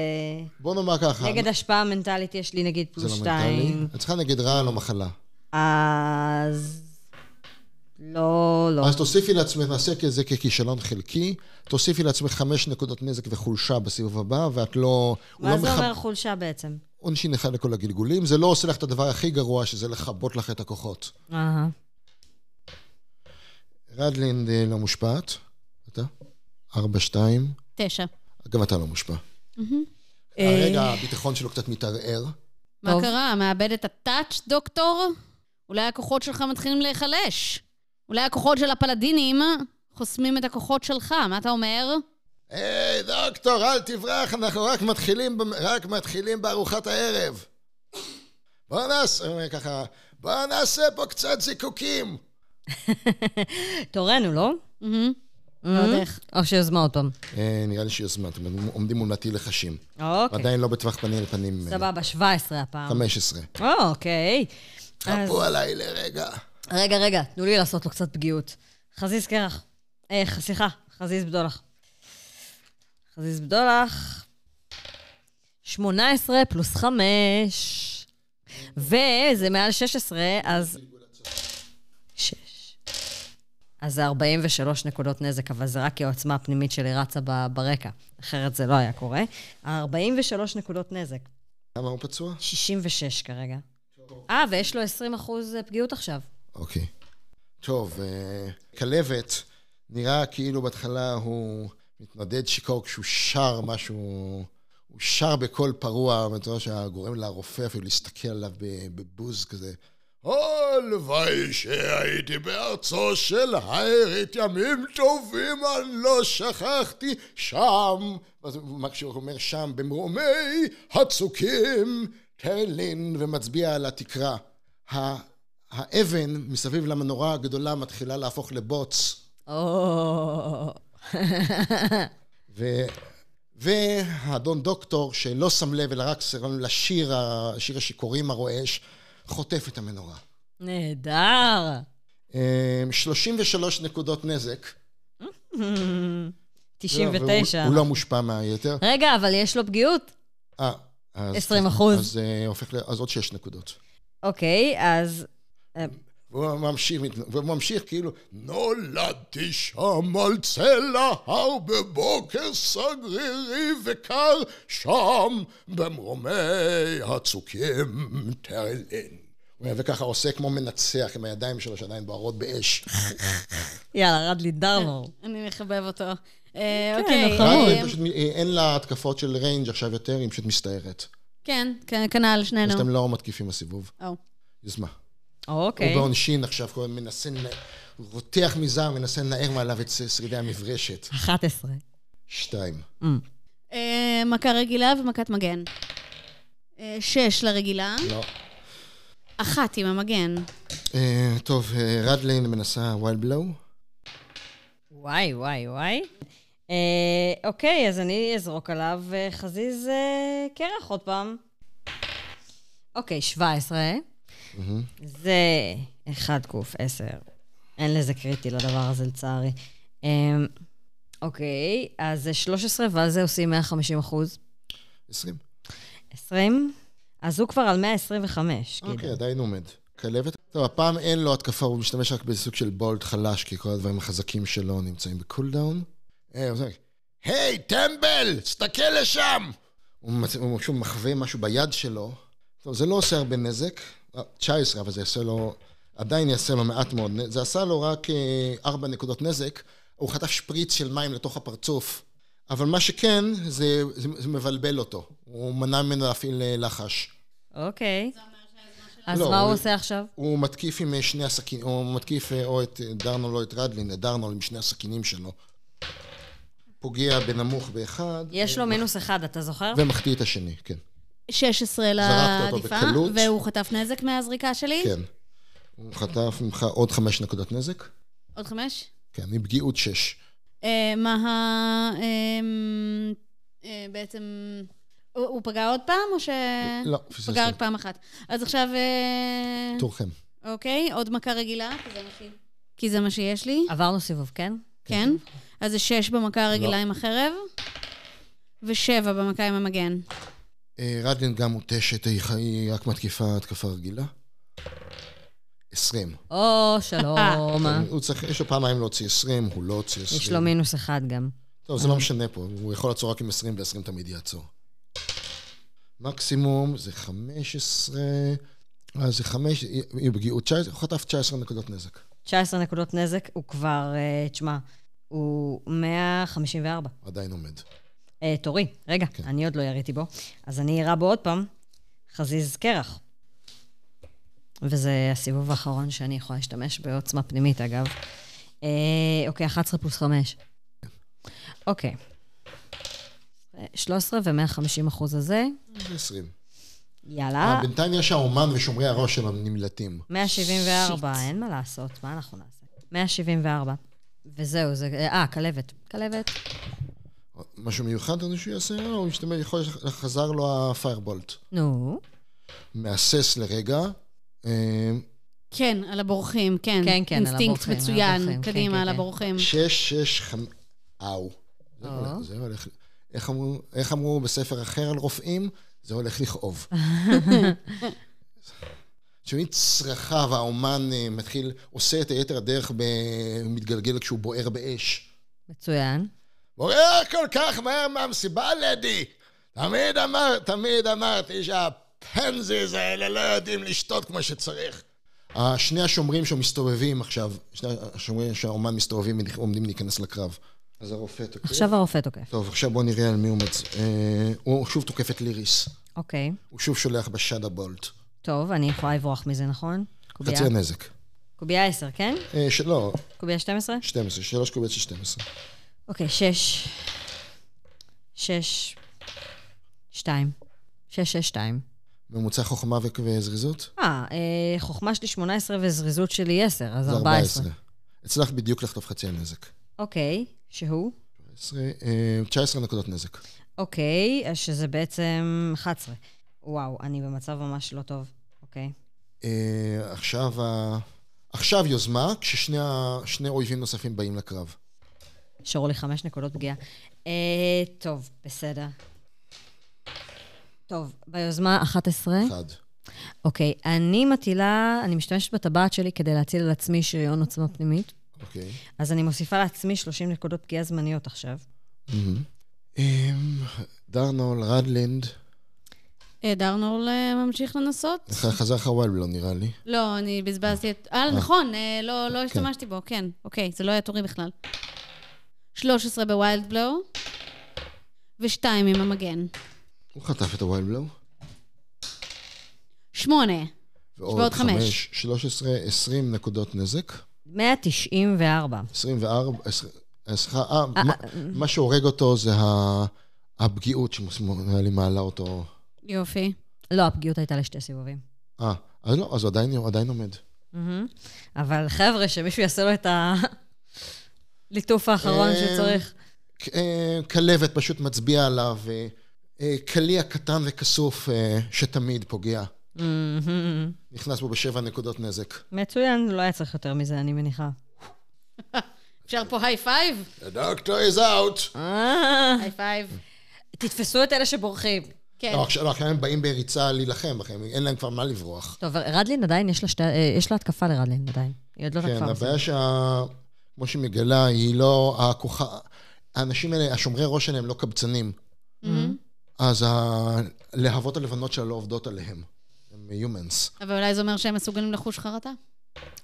בוא נאמר ככה.
נגד השפעה מנטלית יש לי נגיד
זה
פלוס
לא מנטלי.
שתיים.
את צריכה נגד רעל או מחלה.
אז... לא, לא.
אז תוסיפי לעצמך, נעשה את זה ככישלון חלקי, תוסיפי לעצמך חמש נקודות נזק וחולשה בסיבוב הבא, ואת לא... הוא
מה
לא
זה
מכב-
אומר חולשה בעצם?
עונשין אחד לכל הגלגולים, זה לא עושה לך את הדבר הכי גרוע, שזה לכבות לך את הכוחות.
אהה.
רדלינד אה, לא מושפעת, אתה? ארבע, שתיים.
תשע.
גם אתה לא מושפע.
אה,
הרגע הביטחון שלו קצת מתערער.
מה
טוב.
קרה? מאבד את הטאץ', דוקטור? אולי הכוחות שלך מתחילים להיחלש. אולי הכוחות של הפלדינים חוסמים את הכוחות שלך, מה אתה אומר?
היי, דוקטור, אל תברח, אנחנו רק מתחילים, במ- רק מתחילים בארוחת הערב. בוא נעשה, הוא אומר ככה, בוא נעשה פה קצת זיקוקים.
תורנו, לא?
מהמם. לא
אה?
יודע איך.
או שיוזמה עוד פעם.
אה, נראה לי שיוזמה, אתם עומדים מול נטיל לחשים.
אוקיי.
עדיין לא בטווח פנים לפנים. ממנו.
סבבה, 17 הפעם.
15.
או, אוקיי. אז-
חפו עליי לרגע.
רגע, רגע, תנו לי לעשות לו קצת פגיעות. חזיז קרח. אה, ח- סליחה, חזיז בדולח. חזיז בדולח. 18 פלוס 5. וזה מעל 16, אז... 6. אז זה 43 נקודות נזק, אבל זה רק כי העוצמה הפנימית שלי רצה ב- ברקע. אחרת זה לא היה קורה. 43 נקודות נזק.
למה הוא פצוע?
66 כרגע. אה, ויש לו 20 אחוז פגיעות עכשיו.
אוקיי. טוב, אה, כלבת, נראה כאילו בהתחלה הוא מתנדד שיכור כשהוא שר משהו, הוא שר בקול פרוע, בצורה שגורם לרופא אפילו להסתכל עליו ב- בבוז כזה. הלוואי שהייתי בארצו של הארית ימים טובים, אני לא שכחתי שם. אז הוא- מה כשהוא אומר שם, במרומי הצוקים, טרלין, ומצביע על התקרה. ה- האבן מסביב למנורה הגדולה מתחילה להפוך לבוץ.
או...
ו... והאדון דוקטור, שלא שם לב, אלא רק סירם לשיר, ה- שיר השיכורים הרועש, חוטף את המנורה.
נהדר.
אמ, 33 נקודות נזק.
99.
והוא- הוא לא מושפע מהיתר.
רגע, אבל יש לו פגיעות.
אה, אז...
20 אחוז.
אז, אה, הופך ל... אז עוד 6 נקודות.
אוקיי, אז...
והוא ממשיך, מת- והוא ממשיך כאילו, נולדתי שם על צל ההר בבוקר סגרירי וקר, שם במרומי הצוקים טרלין. הוא היה וככה עושה כמו מנצח עם הידיים שלו שעדיין בוערות באש.
יאללה, רדלי דרמור.
אני מחבב אותו. אה, אוקיי.
הוא חמוד.
אה,
היא פשוט- היא- אין לה התקפות של ריינג' עכשיו יותר, היא פשוט מסתערת.
כן, כן, כנ"ל
אז
שנינו.
אתם לא מתקיפים בסיבוב.
או.
יוזמה. הוא
אוקיי.
בעונשין עכשיו, כל הזמן מנסה, לנ- הוא רותח מזעם, מנסה לנער מעליו את שרידי המברשת.
11.
שתיים.
אה, מכה רגילה ומכת מגן. אה, שש לרגילה,
לא.
אחת עם המגן.
אה, טוב, אה, רדלין מנסה ווילד בלואו.
וואי, וואי, וואי. אה, אוקיי, אז אני אזרוק עליו אה, חזיז אה, קרח עוד פעם. אוקיי, 17. זה 1 ק 10. אין לזה קריטי לדבר הזה, לצערי. אה, אוקיי, אז זה 13, ואז זה עושים 150 אחוז.
20.
20? אז הוא כבר על 125,
אוקיי,
כאילו.
עדיין עומד. כלבת. טוב, הפעם אין לו התקפה, הוא משתמש רק בסוג של בולט חלש, כי כל הדברים החזקים שלו נמצאים בקולדאון. אה, הוא זורק, היי, טמבל, תסתכל לשם! הוא מצ- הוא שוב מחווה משהו ביד שלו. טוב, זה לא עושה הרבה נזק. אה, 19, אבל זה יעשה לו... עדיין יעשה לו מעט מאוד נזק. זה עשה לו רק 4 נקודות נזק. הוא חטף שפריץ של מים לתוך הפרצוף. אבל מה שכן, זה, זה, זה מבלבל אותו. הוא מנע ממנו להפעיל אה, לחש.
אוקיי. אז
לא,
מה הוא
הוא-
עושה עכשיו?
הוא מתקיף עם אה, שני הסכינים, הוא מתקיף אה, או את אה, דרנול או את רדלין, את דרנול עם שני הסכינים שלו. פוגע בנמוך באחד, אה,
יש לו מינוס אחד, אתה זוכר?
ומחטיא את השני, כן.
16
זרקת אותו
לעדיפה,
בקלות.
והוא חטף נזק מהזריקה שלי.
כן. הוא חטף ממך עוד חמש נקודות נזק.
עוד חמש?
כן, עם פגיעות שש.
כן.
אה, מה ה... אה, אה, בעצם... הוא הוא פגע עוד פעם, או ש...
לא, פספסת.
פגע רק פעם אחת. אז עכשיו... אה,
תורכם.
אוקיי, עוד מכה רגילה, כי זה מה ש- כי זה מה שיש
אה,
לי.
עברנו סיבוב, כן?
כן.
אוקיי.
אז זה שש
לא.
במכה הרגילה עם החרב, ושבע במכה עם המגן.
אה, רדלין גם מותשת, היא חי- היא רק מתקיפה התקפה רגילה. עשרים.
או, שלום.
הוא צריך, יש לו פעמיים להוציא עשרים, הוא לא הוציא עשרים.
יש לו מינוס אחד גם.
טוב, זה לא משנה פה, הוא יכול לעצור רק עם 20 ו-20 תמיד יעצור. מקסימום זה 15, אז זה 5, היא פגיעות 19, הוא חטף 19 נקודות נזק.
19 נקודות נזק, הוא כבר, אה, תשמע, הוא 154.
עדיין עומד.
אה, תורי, רגע, כן. אני עוד לא יריתי בו. אז אני אירה בו עוד פעם, חזיז קרח. וזה הסיבוב האחרון שאני יכולה להשתמש בעוצמה פנימית, אגב. אה, אוקיי, 11 פלוס 5. אוקיי. אה, 13 ו-150 אחוז הזה,
זה 20.
יאללה.
בינתיים יש האומן ושומרי הראש שלו נמלטים.
174, אין מה לעשות, מה אנחנו נעשה? 174. וזהו, זה... אה, כלבת. כלבת.
משהו מיוחד אני שהוא יעשה? לא, הוא משתמש, יכול, להיות שחזר לו הפיירבולט.
נו.
מהסס לרגע. אה,
כן, על הבורחים, כן.
כן, כן, על
אינסטינקט
הבורחים, על הבורחים,
מצוין,
כן,
קדימה,
כן,
על
כן.
הבורחים.
שש, שש, חמ... אאו. זה
או.
הולך, זה הולך... איך אמרו, איך אמרו בספר אחר על רופאים? זה הולך לכאוב. שומעים צרכיו, האומן אה, מתחיל, עושה את היתר הדרך, ב... מתגלגל כשהוא בוער באש.
מצוין.
בוער כל כך מהר מהמסיבה, לדי! תמיד אמר, תמיד אמרתי שהפנזיז האלה לא יודעים לשתות כמו שצריך. אה, שני השומרים שמסתובבים עכשיו, שני השומרים שהאומן מסתובבים עומדים להיכנס לקרב. אז הרופא תוקף.
עכשיו הרופא תוקף.
טוב, עכשיו בוא נראה על מי הוא מצ... אה, הוא שוב תוקף את ליריס.
אוקיי.
הוא שוב שולח בשאדה בולט.
טוב, אני יכולה לברוח מזה, נכון? קובייה?
חצי הנזק.
קובייה 10, כן?
אה, של... לא,
קובייה 12?
12, 3 קובץ של 12.
אוקיי, 6. 6. 2. 6, 6, 2.
ממוצע חוכמה ו- וזריזות?
אה, אה, חוכמה שלי 18 וזריזות שלי 10, אז
זה
14.
הצלחת בדיוק לחטוף חצי הנזק.
אוקיי, שהוא?
14, אה, 19 נקודות נזק.
אוקיי, אז שזה בעצם 11. וואו, אני במצב ממש לא טוב. אוקיי.
אה, עכשיו, ה... עכשיו יוזמה, כששני ה... שני אויבים נוספים באים לקרב.
נשארו לי חמש נקודות פגיעה. אה, טוב, בסדר. טוב, ביוזמה 11.
אחד.
אוקיי, אני מטילה, אני משתמשת בטבעת שלי כדי להציל על עצמי שריון עוצמה פנימית,
אוקיי.
אז אני מוסיפה לעצמי 30 נקודות פגיעה זמניות עכשיו.
אה, דרנול, רדלנד,
אה, דרנורל אה, ממשיך לנסות?
ח- חזר לך וולבלו נראה לי.
לא, אני בזבזתי את... אה, נכון, אה, לא לא השתמשתי בו, כן. אוקיי, זה לא היה תורי בכלל. 13 בווילד בלואו, ושתיים עם המגן.
הוא חטף את הווילבלו.
שמונה. ועוד חמש.
13, 20 נקודות נזק.
194.
24, עשר- אה, סליחה, אה, מה- מה שהורג אותו זה ה- הפגיעות שנראה לי מעלה אותו.
יופי.
לא, הפגיעות הייתה לשתי סיבובים.
אה, אז לא, אז הוא עדיין, הוא עדיין עומד.
מהמם. אבל חבר'ה, שמישהו יעשה לו את הליטוף האחרון
אה,
שהוא צריך.
אה, כלבת פשוט מצביע עליו, אה, אה, קליע קטן וכסוף אה, שתמיד פוגע.
מהמם.
נכנס בו בשבע נקודות נזק.
מצוין, לא היה צריך יותר מזה, אני מניחה.
אפשר פה היי פייב?
The doctor is out.
אה,
היי פייב.
תתפסו את אלה שבורחים.
כן.
לא, עכשיו לא, עכשיו הם באים בריצה להילחם בכם, אין להם כבר מה לברוח.
טוב, רדלין עדיין, יש לה שתי- אה, יש לה התקפה לרדלין עדיין. היא עוד לא
כן,
תקפה. מזה.
הבעיה שה... כמו שהיא מגלה, היא לא... הכוחה... האנשים האלה, השומרי ראש שלהם לא קבצנים.
Mm-hmm.
אז הלהבות הלבנות שלה לא עובדות עליהם. הם humans.
אבל אולי זה אומר שהם מסוגלים לחוש חרטה?
הם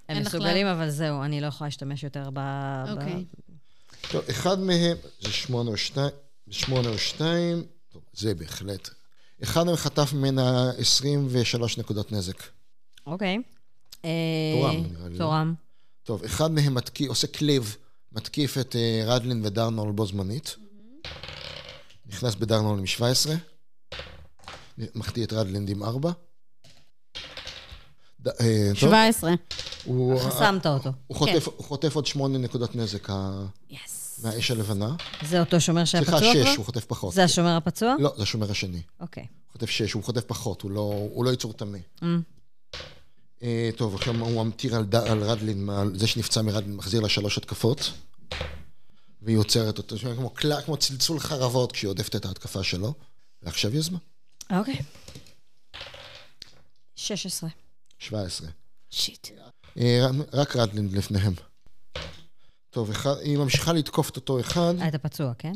אין לך
מסוגלים, אבל זהו, אני לא יכולה להשתמש יותר ב... ב-
אוקיי.
טוב, אחד מהם זה שמונה או שתיים, שמונה או שתיים, טוב, זה בהחלט. אחד מהם חטף ממנה 23 נקודות נזק.
אוקיי. אה,
תורם, נראה לי, לא?
תורם.
טוב, אחד מהם מתקיף, עושה קליב, מתקיף את אה, רדלין ודרנול בו זמנית. נכנס בדרנול עם 17. מחטיא את רדלין עם 4.
17.
אה,
חסמת אותו.
הוא חוטף,
כן.
הוא חוטף עוד 8 נקודות נזק ה...
יס.
מהאש הלבנה.
זה אותו שומר שהיה פצוע
סליחה,
כבר?
6, הוא חוטף פחות.
זה השומר הפצוע?
לא, זה השומר השני.
אוקיי.
הוא חוטף שש, הוא חוטף פחות, הוא לא, הוא לא ייצור טמא. אה, טוב, עכשיו הוא המטיר על, ד- על רדלין, מה- על זה שנפצע מרדלין, מחזיר לה שלוש התקפות, והיא עוצרת אותו, זה כמו, קלע, כמו צלצול חרבות כשהיא עודפת את ההתקפה שלו, ועכשיו יוזמה,
אוקיי. 16.
17.
שיט.
אה, ר- רק רדלין לפניהם. טוב, אחד, היא ממשיכה לתקוף את אותו אחד,
אה, אתה פצוע, כן?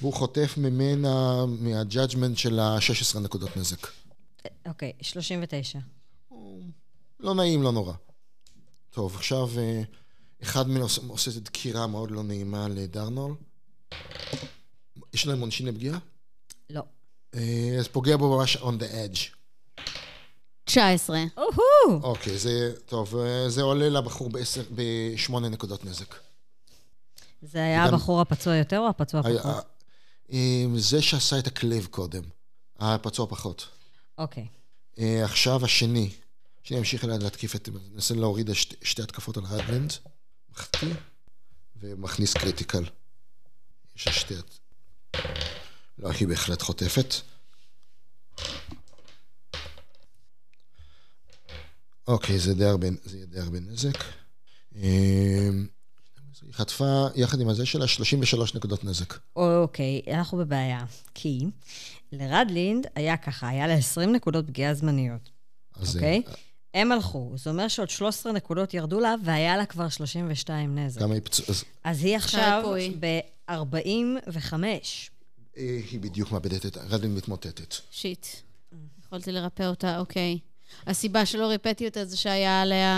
והוא חוטף ממנה, מהג'אג'מנט של ה-16 נקודות נזק.
אוקיי, 39.
לא נעים, לא נורא. טוב, עכשיו אה, אחד מהם עושה, עושה איזו דקירה מאוד לא נעימה לדרנול. יש להם עונשין לפגיעה?
לא.
אה, אז פוגע בו ממש on the edge.
19.
אוהו!
אוקיי, זה, טוב, אה, זה עולה לבחור בעשר- בשמונה נקודות נזק.
זה היה
גם-
הבחור הפצוע יותר או הפצוע
היה-
פחות?
אה, זה שעשה את הכלב קודם, הפצוע פחות.
אוקיי.
אה, עכשיו השני, שאני אמשיך אליה להתקיף את... ננסה להוריד את שתי, שתי התקפות על רדלנד, מחטיא, ומכניס קריטיקל. יש לה שתי... הת- לא, היא בהחלט חוטפת. אוקיי, זה די הרבה, זה יהיה די הרבה נזק. אה, היא חטפה, יחד עם הזה שלה, 33 נקודות נזק.
אוקיי, אנחנו בבעיה. כי לרדלינד היה ככה, היה לה 20 נקודות פגיעה זמניות,
אז,
אוקיי?
אה,
הם הלכו, זה אומר שעוד 13 נקודות ירדו לה, והיה לה כבר 32 נזק.
כמה היא פצועה? אז,
אז היא עכשיו
ריפוי.
ב-45.
אה, היא בדיוק מאבדת את... רדלין מתמוטטת.
שיט. יכולתי לרפא אותה, אוקיי. הסיבה שלא ריפאתי אותה זה שהיה עליה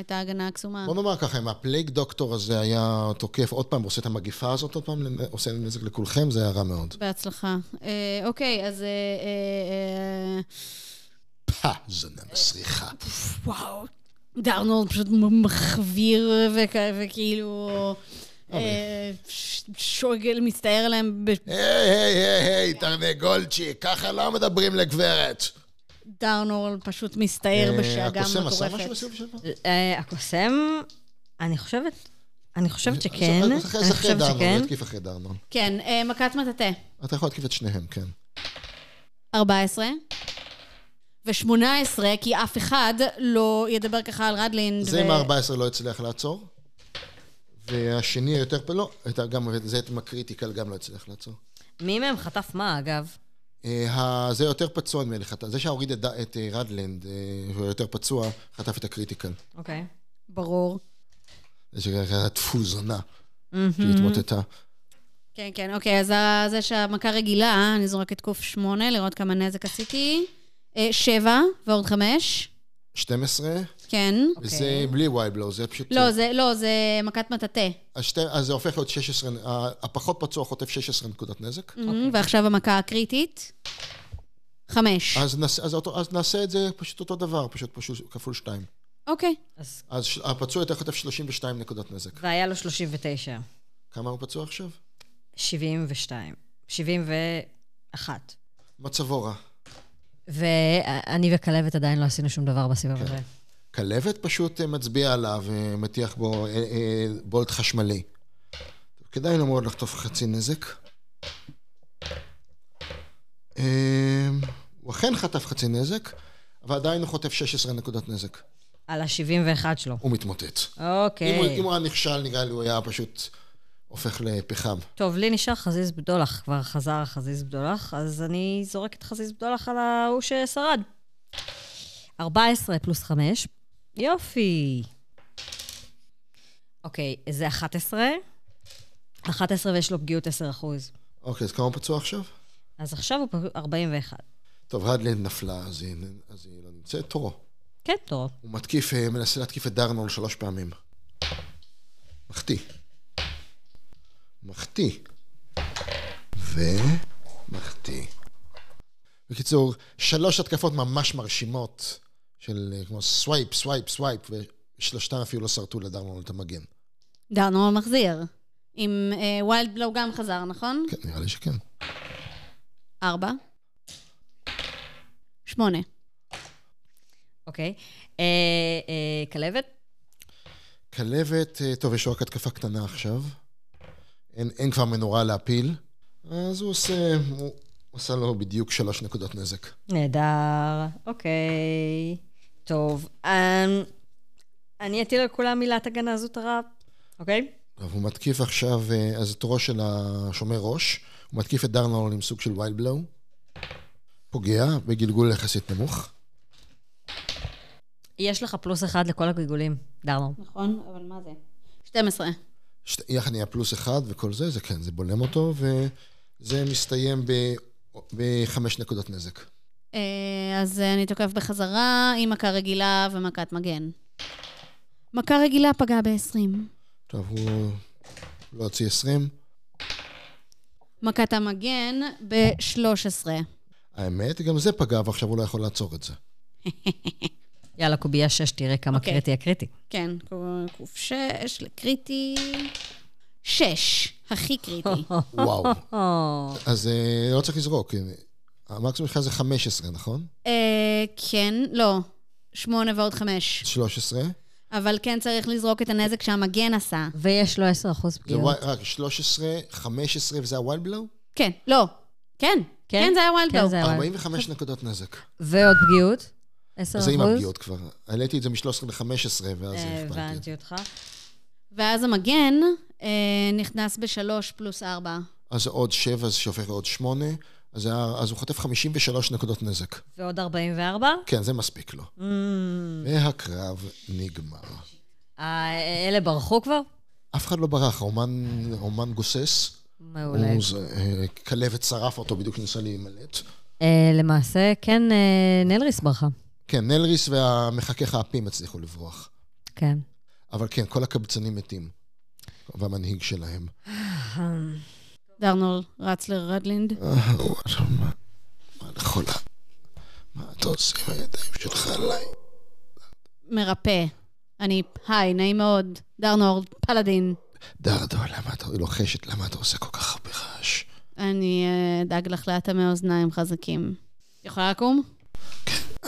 את ההגנה הקסומה.
בוא נאמר ככה, אם הפלייג דוקטור הזה היה תוקף עוד פעם, עושה את המגפה הזאת עוד פעם, עושה נזק לכולכם, זה היה רע מאוד.
בהצלחה. אה, אוקיי, אז... אה, אה, אה,
פה, זונה מסריחה.
וואו, דרנולד פשוט מחוויר וכ- וכאילו... אה, ש- שוגל מסתער עליהם ב...
היי, היי, היי, היי, תרנגולצ'יק, ככה לא מדברים לגברת.
אה,
דרנולד פשוט מסתער
אה,
בשאגה
הקוסם עשה משהו
מטורפת.
בסיבוב שעבר?
אה, הקוסם, אני חושבת, אני חושבת שכן.
אז- אז אחרי-
כן. אני
אז אחרי
חושבת
דרנון,
שכן.
הוא התקיף אחרי דרנון.
כן, אה, מכת מטאטא.
אתה יכול להתקיף את שניהם, כן.
14 ו-18, כי אף אחד לא ידבר ככה על רדלין.
זה עם ה-14 לא הצליח לעצור. והשני היותר פ... לא, הייתה גם, זה עם הקריטיקל גם לא הצליח לעצור.
מי מהם חטף מה, אגב?
אה, ה- זה יותר פצוע נדמה לי, חטף- זה שהוריד את ד- את אה, רדלנד, אה, שהוא יותר פצוע, חטף את הקריטיקל.
אוקיי.
ברור.
זה שקראת תפוזונה, שהתמוטטה.
כן, כן, אוקיי, אז ה- זה שהמכה רגילה, אני זורקת קוף 8, לראות כמה נזק עשיתי. 7 ועוד 5,
12,
כן.
וזה בלי וואי בלו, זה פשוט...
לא, זה, לא, זה מכת מטאטא.
אז שתי- אז זה הופך להיות 16, ה- הפחות פצוע חוטף 16 נקודות נזק.
אוקיי. ועכשיו המכה הקריטית. 5.
אז נעשה- אז אותו- אז נעשה את זה פשוט אותו דבר, פשוט פשוט כפול 2.
אוקיי.
אז-
אז ש- הפצוע יותר חוטף 32 נקודות נזק.
והיה לו 39.
כמה הוא פצוע עכשיו?
72. 71.
מצבו רע.
ואני וכלבת עדיין לא עשינו שום דבר בסיבוב הזה.
כלבת פשוט אה, מצביע עליו, אה, מטיח בו אה, אה, בולט חשמלי. כדאי לו מאוד לחטוף חצי נזק. אמ, אה, הוא אכן חטף חצי נזק, אבל עדיין הוא חוטף 16 נקודות נזק.
על ה-71 שלו.
הוא מתמוטט. אם הוא-
אוקיי.
אם הוא היה נכשל, נראה לי הוא היה פשוט הופך לפחם.
טוב, לי נשאר חזיז בדולח, כבר חזר החזיז בדולח, אז אני זורקת חזיז בדולח על ההוא ששרד. 14 פלוס 5. יופי. אוקיי, זה 11. 11 ויש לו פגיעות 10 אחוז.
אוקיי, אז כמה הוא פצוע עכשיו?
אז עכשיו הוא פג- 41.
טוב, רדלין נפלה, אז היא, אז היא לא נמצאת. תורו.
כן, טוב.
הוא מתקיף, אה, מנסה להתקיף את דרנול שלוש פעמים. מחטיא. מחטיא. ומחטיא. בקיצור, שלוש התקפות ממש מרשימות, של אה, כמו סווייפ, סווייפ, סווייפ, ושלושתן אפילו לא שרטו לדרנול את המגן.
דרנו מחזיר. עם ווילד בלו גם חזר, נכון?
כן, נראה לי שכן.
ארבע. שמונה.
אוקיי. אה, אה, כלבת?
כלבת, אה, טוב, יש לו רק התקפה קטנה עכשיו. אין, אין כבר מנורה להפיל, אז הוא עושה, הוא עושה לו בדיוק שלוש נקודות נזק.
נהדר, אוקיי. טוב, אמ, אני אטיל על כולם מילת הגנה זוטרה, אוקיי?
טוב, הוא מתקיף עכשיו, אה, אז את ראש של השומר ראש, הוא מתקיף את דרנול עם סוג של ווילד בלואו. פוגע בגלגול יחסית נמוך.
יש לך פלוס אחד לכל הגלגולים, דרמור.
נכון, אבל מה זה? 12.
שת, יחד נהיה פלוס אחד וכל זה, זה כן, זה בולם אותו, וזה מסתיים ב... בחמש נקודות נזק.
אה, אז אה, אני תוקף בחזרה עם מכה רגילה ומכת מגן. מכה רגילה פגעה ב-20.
טוב, הוא לא הוציא 20.
מכת המגן ב-13.
האמת, גם זה פגע, ועכשיו הוא לא יכול לעצור את זה.
יאללה, קובייה שש, תראה כמה
אוקיי.
קריטי הקריטי.
כן, קוף שש, לקריטי. שש, הכי קריטי.
וואו.
או,
אז אה, לא צריך לזרוק. אה, המקסימום שלך זה 15, נכון?
אה, כן, לא. שמונה ועוד חמש.
13.
אבל כן צריך לזרוק את הנזק שהמגן עשה.
ויש לו 10 אחוז
זה
פגיעות.
וואי- רק 13, 15, וזה הווילד בלואו?
כן, לא. כן.
כן?
כן, זה היה ווילד
כן,
בלואו.
זה היה-
45 נקודות נזק.
ועוד פגיעות? 10 אחוז?
אז עם הפגיעות כבר. העליתי את זה מ-13 ל-15, ואז הכפלתי את זה.
אה, הבנתי אותך.
ואז המגן אה, נכנס בשלוש פלוס ארבע.
אז זה עוד 7, אז שהופך לעוד 8, אז זה היה- אז הוא חוטף 53 נקודות נזק.
ועוד 44?
כן, זה מספיק לו.
Mm.
והקרב נגמר.
אה, אלה ברחו כבר?
אף אחד לא ברח, האומן האומן גוסס.
מעולה.
הוא זה, אה, כלבת שרף אותו, בדיוק ניסה להימלט.
אה, למעשה, כן, אה, נלריס ברחה.
כן, נלריס והמחכך האפים הצליחו לברוח.
כן.
אבל כן, כל הקבצנים מתים. והמנהיג שלהם.
דרנול רץ לרדלינד.
אה, וואלה, מה- מה אני חולה? מה אתה עושה עם הידיים שלך עליי?
מרפא. אני, היי, נעים מאוד. דרנול, פלאדין.
דרדו, למה אתה... היא לוחשת, למה אתה עושה כל כך הרבה רעש?
אני אה, אדאג לך לאטמי אוזניים חזקים. יכולה לקום?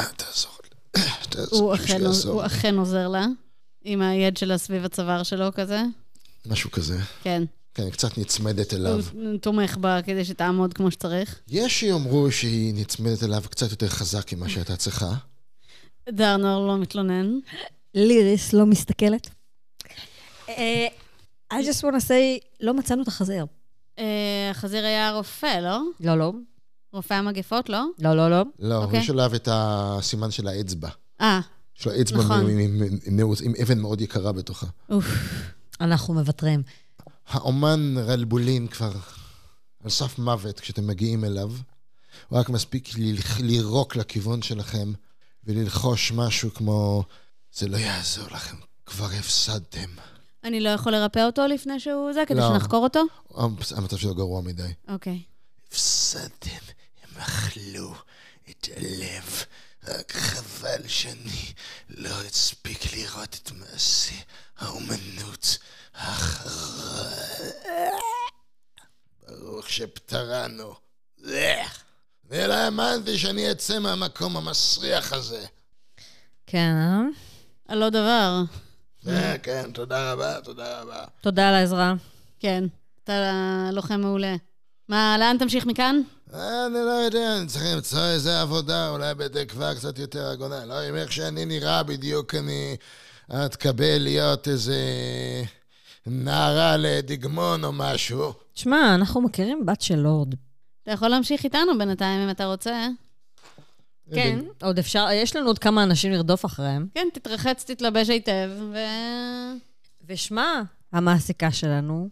אה, תעזור לי. אה,
הוא
תעזור כאילו לי,
אכן,
שיעזור.
הוא אכן עוזר לה, עם היד שלה סביב הצוואר שלו כזה.
משהו כזה.
כן.
כן, היא קצת נצמדת אליו.
הוא תומך בה כדי שתעמוד כמו שצריך.
יש שיאמרו שהיא נצמדת אליו קצת יותר חזק ממה שהייתה צריכה.
דרנור לא מתלונן.
ליריס לא מסתכלת. אה, I just want to say, לא מצאנו את החזיר.
אה, החזיר היה רופא, לא?
לא, לא.
רופא המגפות, לא?
לא, לא, לא.
לא, אבל
אוקיי.
יש עליו את הסימן של האצבע.
אה,
יש לו אצבע
נכון.
עם- עם- עם- עם נעוץ- עם אבן מאוד יקרה בתוכה.
אוף.
אנחנו מוותרים.
האומן רלבולין כבר על סף מוות כשאתם מגיעים אליו. הוא רק מספיק ל- לירוק לכיוון שלכם וללחוש משהו כמו, זה לא יעזור לכם, כבר הפסדתם.
אני לא יכול לרפא אותו לפני שהוא זה, כדי
לא.
שנחקור אותו?
המצ- המצב שלו גרוע מדי.
אוקיי.
הפסדתם, הם אכלו את הלב. רק חבל שאני לא אספיק לראות את מעשה האומנות האחרון. ברוך שפטרנו. לך. ולא האמנתי שאני אצא מהמקום המסריח הזה.
כן, אה?
על לא דבר.
אה, כן, תודה רבה, תודה רבה.
תודה על העזרה.
כן. אתה לוחם מעולה. מה, לאן תמשיך מכאן?
אה, אני לא יודע, אני צריך למצוא איזה עבודה, אולי בתקווה קצת יותר הגונה. לא, עם איך שאני נראה בדיוק, אני אתקבל להיות איזה נערה לדגמון או משהו.
תשמע, אנחנו מכירים בת של לורד.
אתה יכול להמשיך איתנו בינתיים אם אתה רוצה.
כן, עוד אפשר, יש לנו עוד כמה אנשים לרדוף אחריהם.
כן, תתרחץ, תתלבש היטב, ו...
ושמע, המעסיקה שלנו,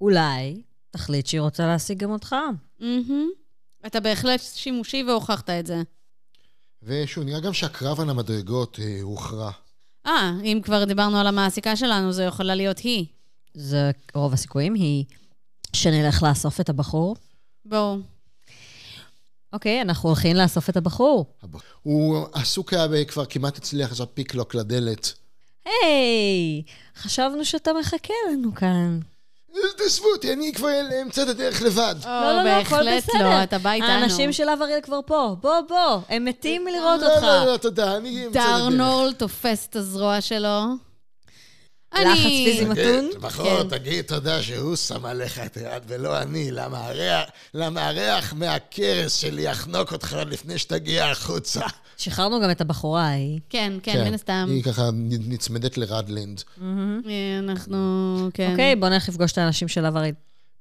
אולי, תחליט שהיא רוצה להשיג גם אותך.
מהמם. אתה בהחלט שימושי והוכחת את זה.
ושוב, נראה גם שהקרב על המדרגות אה, הוכרע.
אה, אם כבר דיברנו על המעסיקה שלנו, זו יכולה להיות היא.
זה רוב הסיכויים, היא שנלך לאסוף את הבחור.
בואו.
אוקיי, אנחנו הולכים לאסוף את הבחור.
הוא עסוק היה ב- כבר כמעט הצליח לעשות פיקלוק לדלת.
היי, חשבנו שאתה מחכה לנו כאן.
"אל תעזבו אותי, אני כבר אמצא את הדרך לבד.
לא, לא, לא, הכל
בהחלט
בסדר.
לא, אתה בא איתנו.
האנשים של אבריל כבר פה. בוא, בוא, הם מתים מלראות
לא,
אותך.
לא, לא, תודה, אני אמצא את הדרך.
דארנול תופס את הזרוע שלו. אני...
לחץ פיזי מתון.
תגיד,
כן.
בחור, תגיד תודה שהוא שם עליך את היד ולא אני, למה הריח- למה הריח מהכרס שלי יחנוק אותך עוד לפני שתגיע החוצה.
שחררנו גם את הבחורה ההיא.
כן, כן, מן הסתם.
היא ככה נ- נצמדת לרדלינד.
אה, אנחנו... כן.
אוקיי, בוא נלך לפגוש את האנשים של אבריל.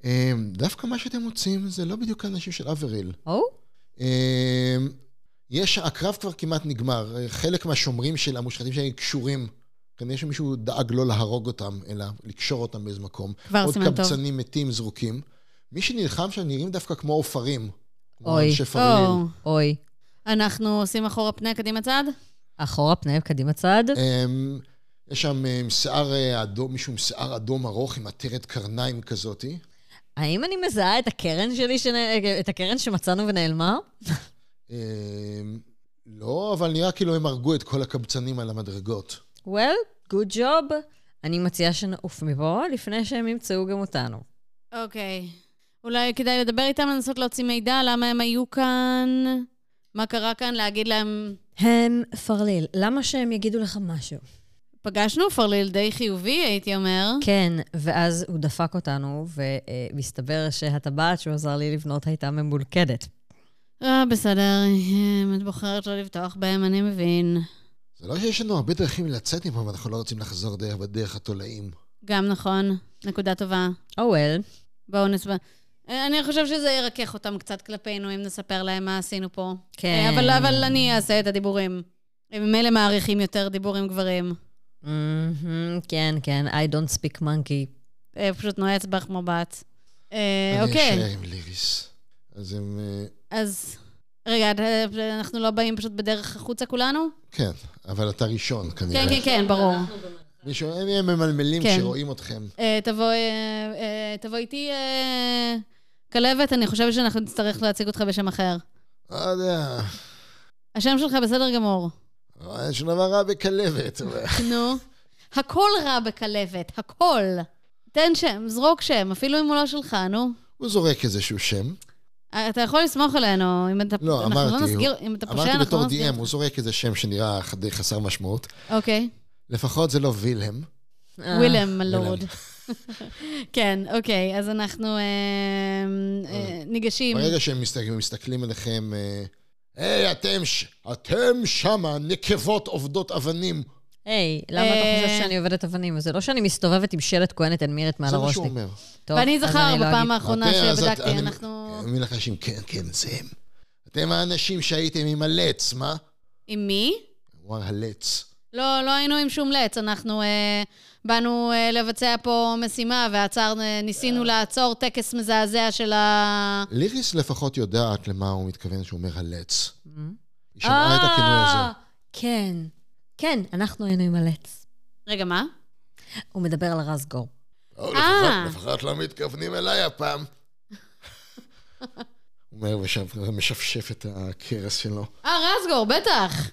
אה, דווקא מה שאתם מוצאים זה לא בדיוק האנשים של אבריל.
או?
אה, יש, הקרב כבר כמעט נגמר. אה, חלק מהשומרים של המושחתים שלהם קשורים. כנראה שמישהו דאג לא להרוג אותם, אלא לקשור אותם באיזה מקום.
כבר
עוד
סימן טוב.
קבצנים מתים זרוקים. מי שנלחם שם נראים דווקא כמו עופרים. כמו
אוי.
אנשי פרליל.
או,
אוי.
אנחנו עושים אחורה פנה קדימה צעד?
אחורה פניהם, קדימה צעד.
אמ, יש שם אמ, שיער אה, אדום, מישהו עם שיער אדום ארוך עם עטרת קרניים כזאתי.
האם אני מזהה את הקרן שלי, שנ- את הקרן שמצאנו ונעלמה?
אמ, לא, אבל נראה כאילו הם הרגו את כל הקבצנים על המדרגות.
well, good job. אני מציעה שנעוף מפה לפני שהם ימצאו גם אותנו.
אוקיי. אולי כדאי לדבר איתם, לנסות להוציא מידע, למה הם היו כאן, מה קרה כאן, להגיד להם,
הם פרליל, למה שהם יגידו לך משהו?
פגשנו פרליל די חיובי, הייתי אומר.
כן, ואז הוא דפק אותנו, ומסתבר שהטבעת שהוא עזר לי לבנות הייתה ממולכדת. Oh
אה, בסדר, אם את בוחרת לא לבטוח בהם, אני מבין.
זה לא שיש לנו הרבה דרכים לצאת מפה, ואנחנו לא רוצים לחזור דרך בדרך התולעים.
גם נכון, נקודה טובה.
או
אה,
וול,
בואו נסבר. אני חושב שזה ירכך אותם קצת כלפינו, אם נספר להם מה עשינו פה. אה,
כן.
אבל, אבל אני אעשה את הדיבורים. הם ממילא מעריכים יותר דיבור עם גברים.
כן, כן, I don't speak monkey.
אה, פשוט נועץ בך מבט. אה,
אני
אוקיי.
אשאר עם ליריס. אז הם... אה,
אז... רגע, אה, אנחנו לא באים פשוט בדרך החוצה כולנו?
כן, אבל אתה ראשון כנראה.
כן, כן, כן, ברור.
מישהו, הם ממלמלים
כן.
שרואים אתכם.
אה, תבוא אה, אה, תבוא איתי, אה, כלבת, אני חושבת שאנחנו נצטרך להציג אותך בשם אחר.
לא יודע,
השם שלך בסדר גמור.
לא, אין שום דבר רע בכלבת. אבל-
נו. הכל רע בכלבת, הכל. תן שם, זרוק שם, אפילו אם הוא לא שלך, נו.
הוא זורק איזשהו שם.
אה, אתה יכול לסמוך עלינו, אם אתה...
לא,
אנחנו
אמרתי,
נסגיר, אם אתה פושע,
אמרתי
אנחנו
בתור
לא נסגיר.
DM, הוא זורק איזה שם שנראה די חסר משמעות.
אוקיי.
לפחות זה לא וילהם.
אה,
אה,
ווילם לורד. כן, אוקיי, אז אנחנו אה, אה, ניגשים.
ברגע שהם מסתכל- מסתכלים עליכם, אה, היי, אתם ש- אתם שמה, נקבות עובדות אבנים.
היי, למה אתה
אה.
חושב שאני עובדת אבנים? זה לא שאני מסתובבת עם שלט כהנת אין מירת מעל
זה מה
הראש
שהוא
לי.
אומר.
טוב,
ואני
אז
זכר
אני לא
בפעם
אגיד.
האחרונה
אוקיי, אז את-
שבדקתי,
אני-
אנחנו...
אני אומר לך שהם, כן, כן, זה הם. אתם האנשים שהייתם עם הלץ, מה?
עם מי?
הוא אמר הלץ.
לא, לא היינו עם שום לץ, אנחנו אה, באנו אה, לבצע פה משימה ועצר, אה, ניסינו לעצור טקס מזעזע של ה...
ליריס לפחות יודעת למה הוא מתכוון שהוא אומר הלץ. היא שמעה את הכינוי
אה,
הזה.
כן. כן, אנחנו היינו עם הלץ.
רגע, מה?
הוא מדבר על רזגור.
"או,
אה.
לפחות- לפחות לא מתכוונים אליי הפעם. הוא אומר ומשפשף את הכרס שלו.
אה, רזגור, בטח.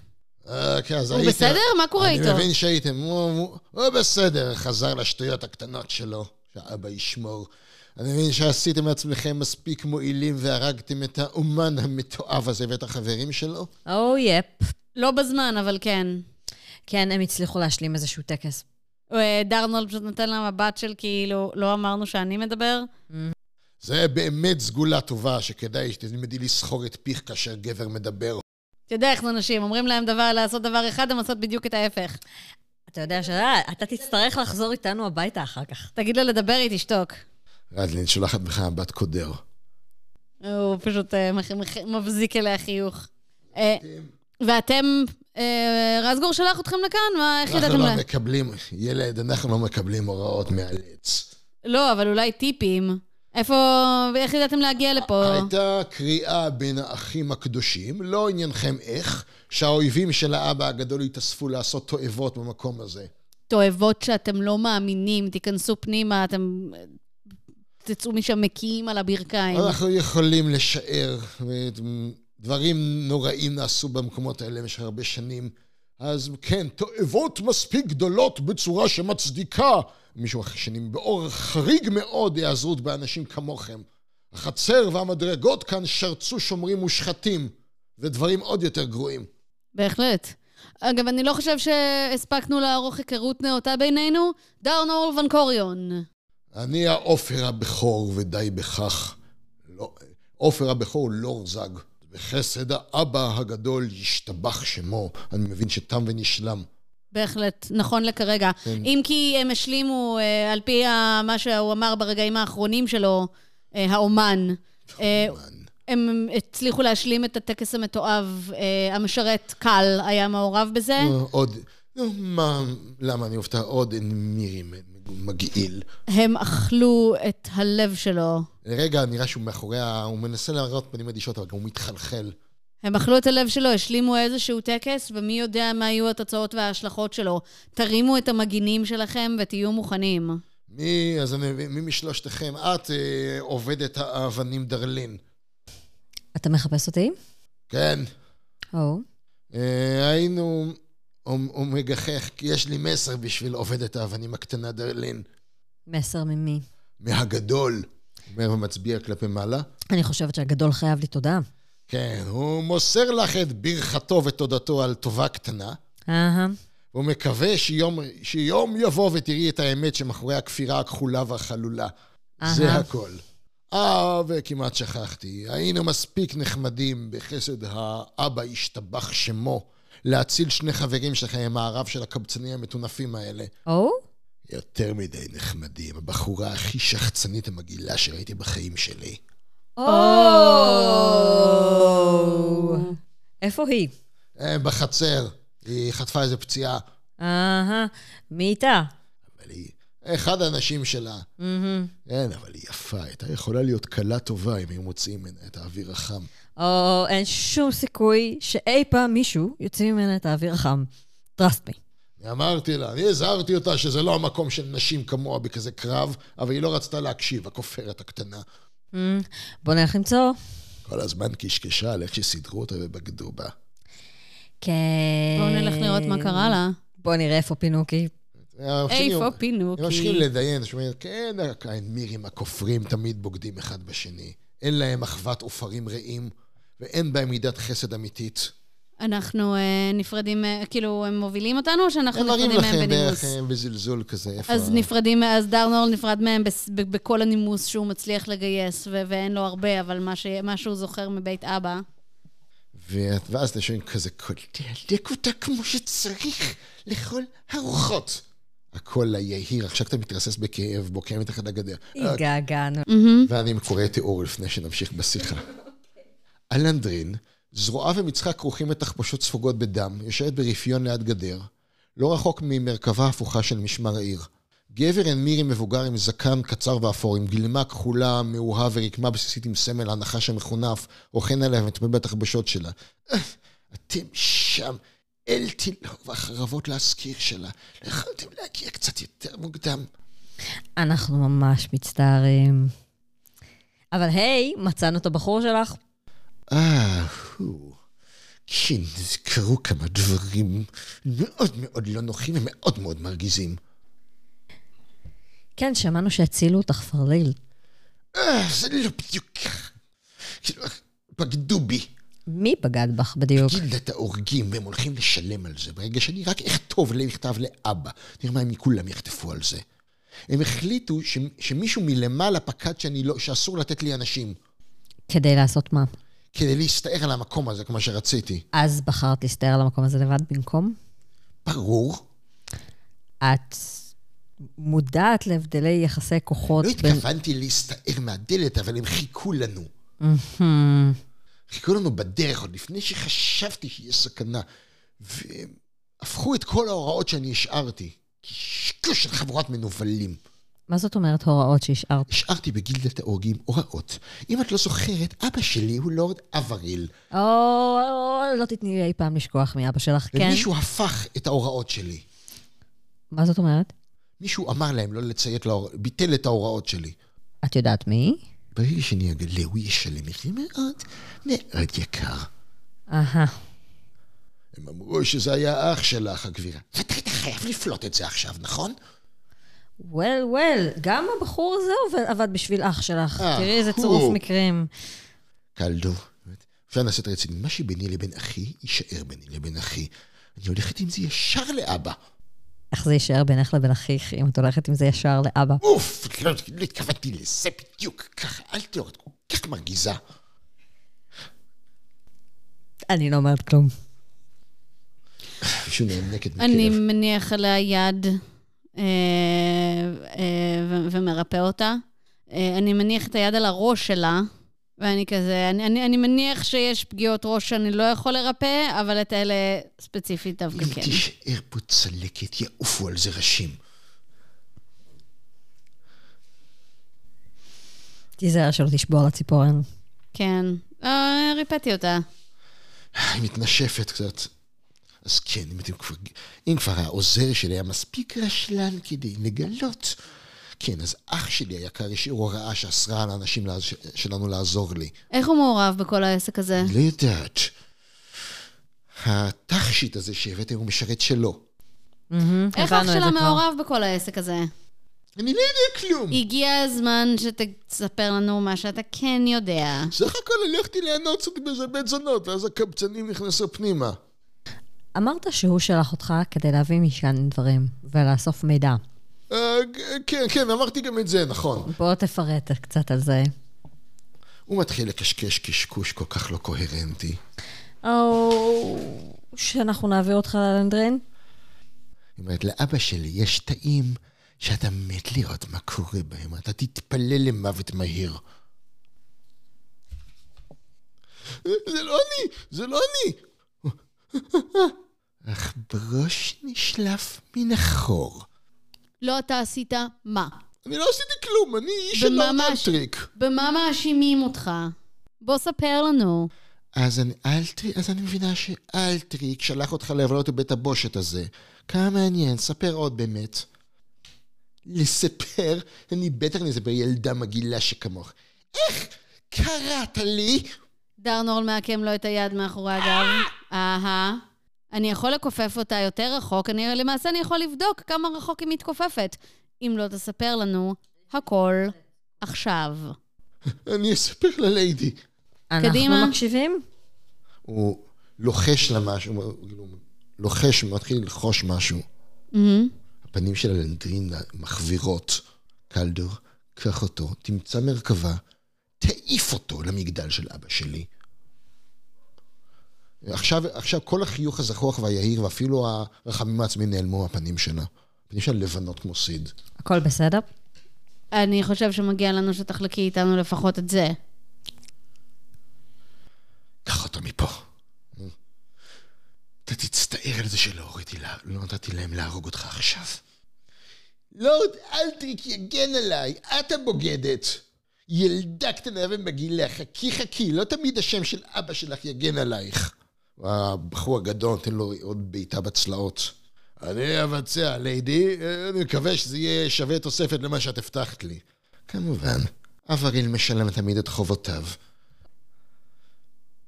אה, כן, אז
הוא
הייתם-
בסדר? מה קורה איתו?
אני מבין שהייתם, הוא, הוא, הוא בסדר, חזר לשטויות הקטנות שלו, שאבא ישמור. אני מבין שעשיתם לעצמכם מספיק מועילים והרגתם את האומן המתועב הזה ואת החברים שלו.
או יפ.
לא בזמן, אבל כן.
Oh, כן, הם הצליחו להשלים איזשהו טקס.
אה, דרנול פשוט נותן לה מבט של כאילו, לא אמרנו שאני מדבר?
זה באמת סגולה טובה שכדאי שתלמדי לסחור את פיך כאשר גבר מדבר.
אתה יודע איך זה נשים, אומרים להם דבר, לעשות דבר אחד, הם עושות בדיוק את ההפך.
אתה יודע שאתה תצטרך לחזור איתנו הביתה אחר כך.
תגיד לה לדבר, היא תשתוק.
רדלין שולחת בך בת קודר.
הוא פשוט אה, מח- מח- מבזיק אליה חיוך. אה, ואתם, אה, רזגור שלח אתכם לכאן? מה, איך
אנחנו
ידעתם
לא
לה?
מקבלים, ילד, אנחנו לא מקבלים הוראות מעלץ.
לא, אבל אולי טיפים. איפה, איך ידעתם להגיע לפה?
אה, הייתה קריאה בין האחים הקדושים, לא עניינכם איך, שהאויבים של האבא הגדול התאספו לעשות תועבות במקום הזה.
תועבות שאתם לא מאמינים, תיכנסו פנימה, אתם אה, תצאו משם מקיאים על הברכיים.
אנחנו יכולים לשער, אה, דברים נוראים נעשו במקומות האלה במשך הרבה שנים. אז כן, תועבות מספיק גדולות בצורה שמצדיקה מישהו אחר שני, באור חריג מאוד היעזרות באנשים כמוכם. החצר והמדרגות כאן שרצו שומרים מושחתים, ודברים עוד יותר גרועים.
בהחלט. אגב, אני לא חושב שהספקנו לערוך היכרות נאותה בינינו. דארנור ונקוריון.
אני העופר הבכור, ודי בכך. לא, עופר הבכור הוא לא זג. בחסד האבא הגדול ישתבח שמו. אני מבין שתם ונשלם.
בהחלט, נכון לכרגע.
כן.
אם כי הם השלימו, אה, על פי ה- מה שהוא אמר ברגעים האחרונים שלו, אה, האומן, אה, הם הצליחו להשלים את הטקס המתועב. אה, המשרת קל היה מעורב בזה.
עוד... נו, מה... למה אני אופתע? עוד אין מירי מ- מגעיל.
הם אכלו את הלב שלו.
לרגע נראה שהוא מאחורי ה... הוא מנסה להראות פנים אדישות, אבל גם הוא מתחלחל.
הם אכלו את הלב שלו, השלימו איזשהו טקס, ומי יודע מה יהיו התוצאות וההשלכות שלו. תרימו את המגינים שלכם ותהיו מוכנים.
מי... אז אני מבין, מי משלושתכם? את אה, עובדת האבנים דרלין.
אתה מחפש אותי?
כן.
או.
אה, היינו... הוא הוא מגחך, כי יש לי מסר בשביל עובדת האבנים הקטנה דרלין.
מסר ממי?
מהגדול. אומר ומצביע כלפי מעלה.
אני חושבת שהגדול חייב לי תודה.
כן, הוא מוסר לך את ברכתו ותודתו על טובה קטנה,
אהה.
והוא מקווה שיום, שיום יבוא ותראי את האמת שמאחורי הכפירה הכחולה והחלולה. זה
אהה.
הכל. אה, וכמעט שכחתי. היינו מספיק נחמדים בחסד האבא ישתבח שמו להציל שני חברים שלכם מהרב של הקבצנים המטונפים האלה.
או?
יותר מדי נחמדים, הבחורה הכי שחצנית המגעילה שראיתי בחיים שלי.
או. איפה היא?
אה, בחצר, היא חטפה איזה פציעה.
אהה. מי איתה?
אבל היא... אחד האנשים שלה.
מהמם.
כן, אבל היא יפה, הייתה יכולה להיות כלה טובה אם היו מוציאים ממנה את האוויר החם.
או, אין שום סיכוי שאי פעם מישהו יוציא ממנה את האוויר החם. Trust me.
אני אמרתי לה, אני הזהרתי אותה שזה לא המקום של נשים כמוה בכזה קרב, אבל היא לא רצתה להקשיב, הכופרת הקטנה.
אמ, בוא נלך למצוא.
כל הזמן קשקשה על איך שסידרו אותה ובגדו בה.
כן.
בואו נלך לראות מה קרה לה.
בוא נראה איפה פינוקי.
איפה פינוקי?
הם ממשיכים לדיין, שאומרים, כן, האמירים הכופרים תמיד בוגדים אחד בשני. אין להם אחוות עופרים רעים, ואין בהם מידת חסד אמיתית.
אנחנו אה, נפרדים, אה, כאילו, הם מובילים אותנו, או שאנחנו
הם מראים
נפרדים מהם
לכם
בנימוס?
דרך אה, בזלזול כזה, איפה...
אז נפרדים, אז דארנורל נפרד מהם בס- ב- בכל הנימוס שהוא מצליח לגייס, ו- ואין לו הרבה, אבל מה ש- מה שהוא זוכר מבית אבא.
ואת- ואז אתם שומעים כזה קול, תהדק אותה כמו שצריך, לכל הרוחות. הקול היהיר, עכשיו אתה מתרסס בכאב, בוקע מתחת לגדר.
התגעגענו.
ואני קורא תיאור לפני שנמשיך בשיחה. אלנדרין, זרועיו ומצחה כרוכים בתחבושות ספוגות בדם, יושבת ברפיון ליד גדר, לא רחוק ממרכבה ההפוכה של משמר העיר. גבר אין מירי מבוגר עם זקן קצר ואפור, עם גלימה כחולה, מאוהב ורקמה בסיסית עם סמל הנחש המחונף, רוכן עליה ומטפל בתחבושות שלה. "אה, אתם שם, אל תילור והחרבות להזכיר שלה. לא יכולתם להגיע קצת יותר מוקדם.
אנחנו ממש מצטערים. אבל היי, מצאנו את הבחור שלך.
אה, הוא. כן, אז קרו כמה דברים מאוד מאוד לא נוחים ומאוד מאוד מרגיזים.
כן, שמענו שהצילו אותך פרליל.
אה, זה לא בדיוק ככה. כאילו, בגדו בי.
מי בגד בך בדיוק?
גילדת ההורגים, והם הולכים לשלם על זה ברגע שאני רק אכתוב למכתב לאבא. נראה מה הם מכולם יחטפו על זה. הם החליטו ש, שמישהו מלמעלה פקד שאני לא, שאסור לתת לי אנשים,
כדי לעשות מה?
כדי להסתער על המקום הזה, כמו שרציתי.
אז בחרת להסתער על המקום הזה לבד במקום?
ברור.
את מודעת להבדלי יחסי כוחות
לא התכוונתי להסתער מהדלת, אבל הם חיכו לנו.
Hmm.
חיכו לנו בדרך, עוד לפני שחשבתי שיש סכנה. והם הפכו את כל ההוראות שאני השארתי. קשקוש של חבורת מנוולים.
מה זאת אומרת הוראות שהשארת?
השארתי בגילדת ההורגים הוראות. אם את לא זוכרת, אבא שלי הוא לורד אבריל.
או, לא תתני אי פעם לשכוח מאבא שלך, כן?
ומישהו הפך את ההוראות שלי.
מה זאת אומרת?
מישהו אמר להם לא לציית, להור... ביטל את ההוראות שלי.
את יודעת מי?
ברגע שאני אגלה, הוא ישלם מחיר מאוד מאוד יקר.
אהה.
הם אמרו שזה היה אח שלך, הגבירה. ואתה היית חייב לפלוט את זה עכשיו, נכון?
וול וול, גם הבחור הזה עובד- עבד בשביל אח שלך.
אה,
תראי איזה
הוא.
צירוף מקרים.
קלדו. אפשר לנסות רציני. מה שביני לבין אחי, יישאר ביני לבין אחי. אני הולכת עם זה ישר לאבא.
איך זה יישאר בינך לבין אחיך אם את הולכת עם זה ישר לאבא?
אוף, לא, לא התכוונתי לזה בדיוק. ככה, אל תהיו, את כל כך מרגיזה.
אני לא אומרת כלום.
מישהו נאנקת מכאב.
אני מניח עליה יד אה, אה, ו- ומרפא אותה. אה, אני מניח את היד על הראש שלה, ואני כזה, אני, אני, אני מניח שיש פגיעות ראש שאני לא יכול לרפא, אבל את אלה ספציפית דווקא
אם
כן.
תישאר פה צלקת, יעופו על זה ראשים.
תיזהר שלא תשבור לה ציפורן.
כן. אה, ריפאתי אותה.
אה, היא מתנשפת קצת. אז כן, אם, אתם כבר, אם כבר העוזר שלי היה מספיק רשלן כדי לגלות. כן, אז אח שלי היקר השאיר הוראה שאסרה על האנשים לעז- שלנו לעזור לי.
איך הוא מעורב בכל העסק הזה?
Mm-hmm.
אני לא יודעת. התכשיט הזה שהבאתם הוא משרת שלו.
איך אח
הבנו את
שלה
זה כבר.
מעורב בכל העסק הזה?
אני לא יודע כלום.
הגיע הזמן שתספר לנו מה שאתה כן יודע.
סך הכל הלכתי ליהנות קצת באיזה בית זונות, ואז הקבצנים נכנסו פנימה.
אמרת שהוא שלח אותך כדי להביא משכן דברים ולאסוף מידע.
אה, כן, כן, אמרתי גם את זה, נכון.
בוא תפרט קצת על זה.
הוא מתחיל לקשקש קשקוש כל כך לא קוהרנטי.
או... שאנחנו נעביר אותך ללנדרין?
היא אומרת, לאבא שלי יש תאים שאתה מת לראות מה קורה בהם, אתה תתפלל למוות מהיר. זה לא אני! זה לא אני! אך בראש נשלף מן החור.
לא אתה עשית מה?
אני לא עשיתי כלום, אני איש של
בממש.
ארטריק.
במה מאשימים אותך? בוא ספר לנו.
אז אני, אלטרי, אז אני מבינה שאלטריק שלח אותך לבלות בבית הבושת הזה. כמה מעניין, ספר עוד באמת. לספר? אני בטח נספר ילדה מגעילה שכמוך. איך קראת לי?
דרנורל מעקם לו את היד מאחורי הגב. אהה. אני יכול לכופף אותה יותר רחוק, אני למעשה אני יכול לבדוק כמה רחוק היא מתכופפת. אם לא תספר לנו, הכל עכשיו.
אני אספר לליידי.
אנחנו
קדימה.
מקשיבים?
הוא לוחש לה משהו, הוא כאילו לוחש, הוא מתחיל ללחוש משהו.
מהמם.
הפנים של הלנדרין מחווירות. קלדור, קח אותו, תמצא מרכבה, תעיף אותו למגדל של אבא שלי. עכשיו, עכשיו כל החיוך הזחוח והיהיר ואפילו הרחמים העצמיים נעלמו מהפנים שלה. הפנים שלה לבנות כמו סיד.
הכל בסדר?
אני חושב שמגיע לנו שתחלקי איתנו לפחות את זה.
קח אותו מפה. אתה תצטער על זה שלא הוריתי לה, לא נתתי להם להרוג אותך עכשיו. לורד אלטריק יגן עליי, את הבוגדת. ילדה קטנה ומגעילה, חכי חכי, לא תמיד השם של אבא שלך יגן עלייך. הבחור הגדול נותן לו עוד בעיטה בצלעות. אני אבצע, ליידי, אני מקווה שזה יהיה שווה תוספת למה שאת הבטחת לי. כמובן, אבריל משלם תמיד את חובותיו.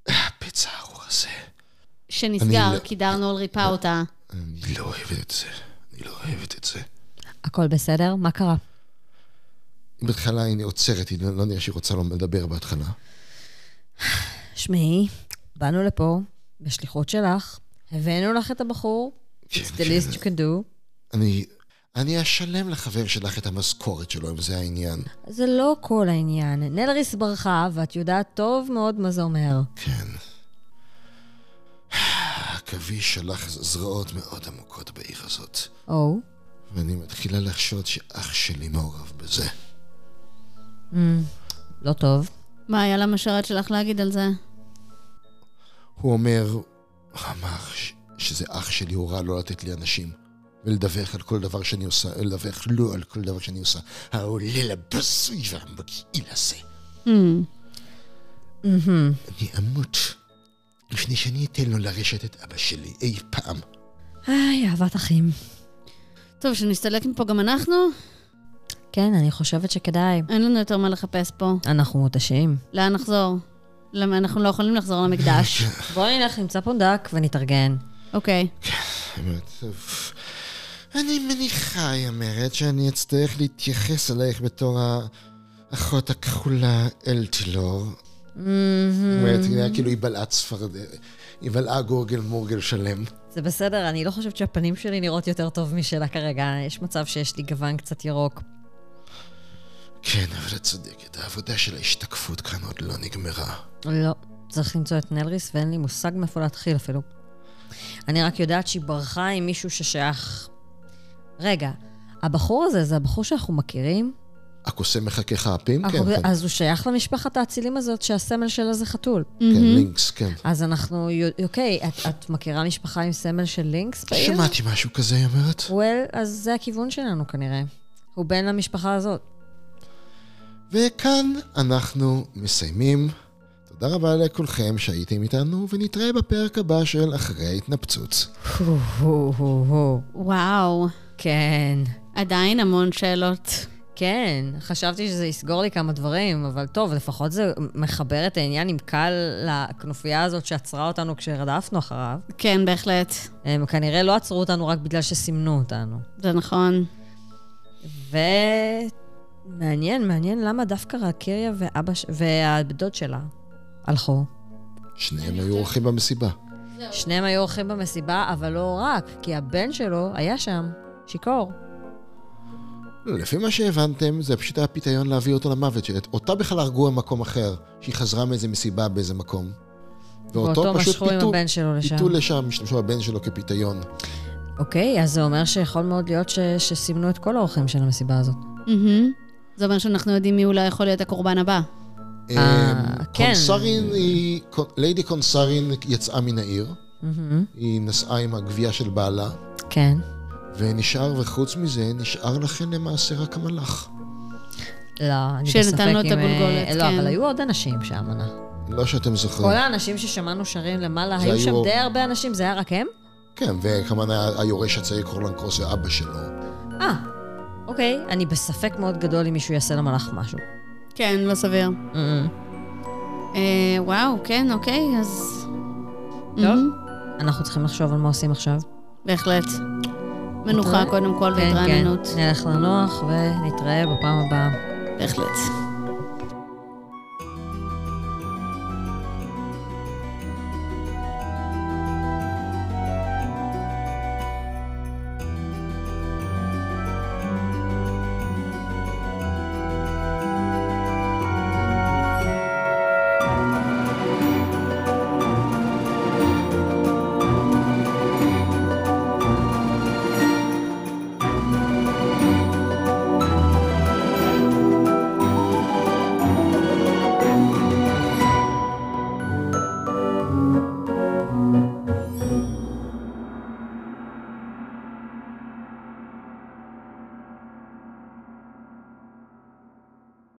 הפצע הארור הזה. אני
שנסגר,
לא-
כי דרנורל ריפא אותה.
אני לא אוהבת את זה. אני לא אוהבת את זה.
הכל בסדר? מה קרה?
בהתחלה היא עוצרת, היא לא לא נראה שהיא רוצה לדבר בהתחלה.
שמעי, באנו לפה בשליחות שלך, הבאנו לך את הבחור,
כן,
it's the
כן.
least you can do.
אני... אני אשלם לחבר שלך את המשכורת שלו, אם זה העניין.
זה לא כל העניין. נלריס ברחה, ואת יודעת טוב מאוד מה זה אומר.
כן. העכביש שלך זרועות מאוד עמוקות בעיר הזאת,
או,
ואני מתחילה לחשוד שאח שלי מעורב בזה.
לא טוב.
מה היה למשרת שלך להגיד על זה?
הוא אומר, אמר ש- שזה אח שלי הורה לא לתת לי אנשים, ולדווח על כל דבר שאני עושה, לדווח לו על כל דבר שאני עושה. העולל הבזוי והמגעיל הזה.
Hmm.
אני אמות לפני שאני אתן לו לרשת את אבא שלי אי פעם.
היי, אהבת אחים.
טוב, שנסתלק מפה גם אנחנו?
כן, אני חושבת שכדאי.
אין לנו יותר מה לחפש פה.
אנחנו מותשים.
לאן נחזור? למה אנחנו לא יכולים לחזור למקדש?
בואי נלך, נמצא פונדק ונתארגן.
אוקיי.
באמת, אוף. אני מניחה, היא אומרת, שאני אצטרך להתייחס אלייך בתור האחות הכחולה אלטילור. זאת אומרת, היא נראה כאילו היא בלעה צפרד... היא בלעה גורגל מורגל שלם.
זה בסדר, אני לא חושבת שהפנים שלי נראות יותר טוב משלה כרגע. יש מצב שיש לי גוון קצת ירוק.
כן, אבל את צודקת, העבודה של ההשתקפות כאן עוד לא נגמרה.
לא. צריך למצוא את נלריס, ואין לי מושג מאיפה להתחיל אפילו. אני רק יודעת שהיא ברחה עם מישהו ששייך... רגע, הבחור הזה, זה הבחור שאנחנו מכירים?
הקוסם מחכה לך הפים? כן,
אנחנו-
כן.
אוקיי, אז הוא שייך למשפחת האצילים הזאת שהסמל שלה זה חתול.
כן, לינקס, כן.
אז אנחנו... יו- אוקיי, את, את מכירה משפחה עם סמל של לינקס בעיר?
שמעתי משהו כזה, היא אומרת.
וול, אז זה הכיוון שלנו כנראה. הוא בן למשפחה הזאת.
וכאן אנחנו מסיימים. תודה רבה לכולכם שהייתם איתנו, ונתראה בפרק הבא של אחרי ההתנפצות.
הו, הו, הו, הו.
וואו,
כן,
עדיין המון שאלות.
כן. חשבתי שזה יסגור לי כמה דברים, אבל טוב, לפחות זה מחבר את העניין עם קל לכנופיה הזאת שעצרה אותנו כשרדפנו אחריו.
כן, בהחלט.
הם כנראה לא עצרו אותנו רק בגלל שסימנו אותנו.
זה נכון.
ו... מעניין, מעניין למה דווקא רקריה ואבא ש... והדוד שלה הלכו.
שניהם היו אורחים במסיבה.
שניהם היו אורחים במסיבה, אבל לא רק, כי הבן שלו היה שם, שיכור.
לפי מה שהבנתם, זה פשוט היה פיתיון להביא אותו למוות, שאותה בכלל הרגו במקום אחר, שהיא חזרה מאיזה מסיבה באיזה מקום.
ואותו משכו עם הבן שלו לשם.
פיתו לשם, השתמשו בבן שלו כפיתיון.
אוקיי, אז זה אומר שיכול מאוד להיות ש... שסימנו את כל האורחים של המסיבה הזאת.
מהמם. Mm-hmm. זה אומר שאנחנו יודעים מי אולי יכול להיות הקורבן הבא.
אה,
אמ,
כן.
קונסרין היא, ליידי קונסרין יצאה מן העיר, היא נסעה עם הגבייה של בעלה.
כן.
ונשאר, וחוץ מזה, נשאר לכן למעשה רק המלאך.
לא, אני
שנתן
בספק
לו
אם...
את הגולגולת,
אה, לא,
כן.
אבל היו עוד אנשים שם, ענה.
לא שאתם זוכרים.
כל האנשים ששמענו שרים למעלה,
זה
היו
היו
שם
עוד-
די הרבה אנשים, זה היה רק הם?
כן, וכמובן היה היורש הצעיר קורלן קרוס ואבא שלו.
אה, אוקיי. אני בספק מאוד גדול אם מישהו יעשה למלאך משהו.
כן, לא סביר.
אה,
אה, וואו, כן, אוקיי, אז...
טוב.
Mm-hmm. מהמם.
אנחנו צריכים לחשוב על מה עושים עכשיו.
בהחלט. מנוחה
נתראה?
קודם כל
כן, כן.
והתרעננות.
נלך לנוח ונתראה בפעם הבאה.
בהחלט.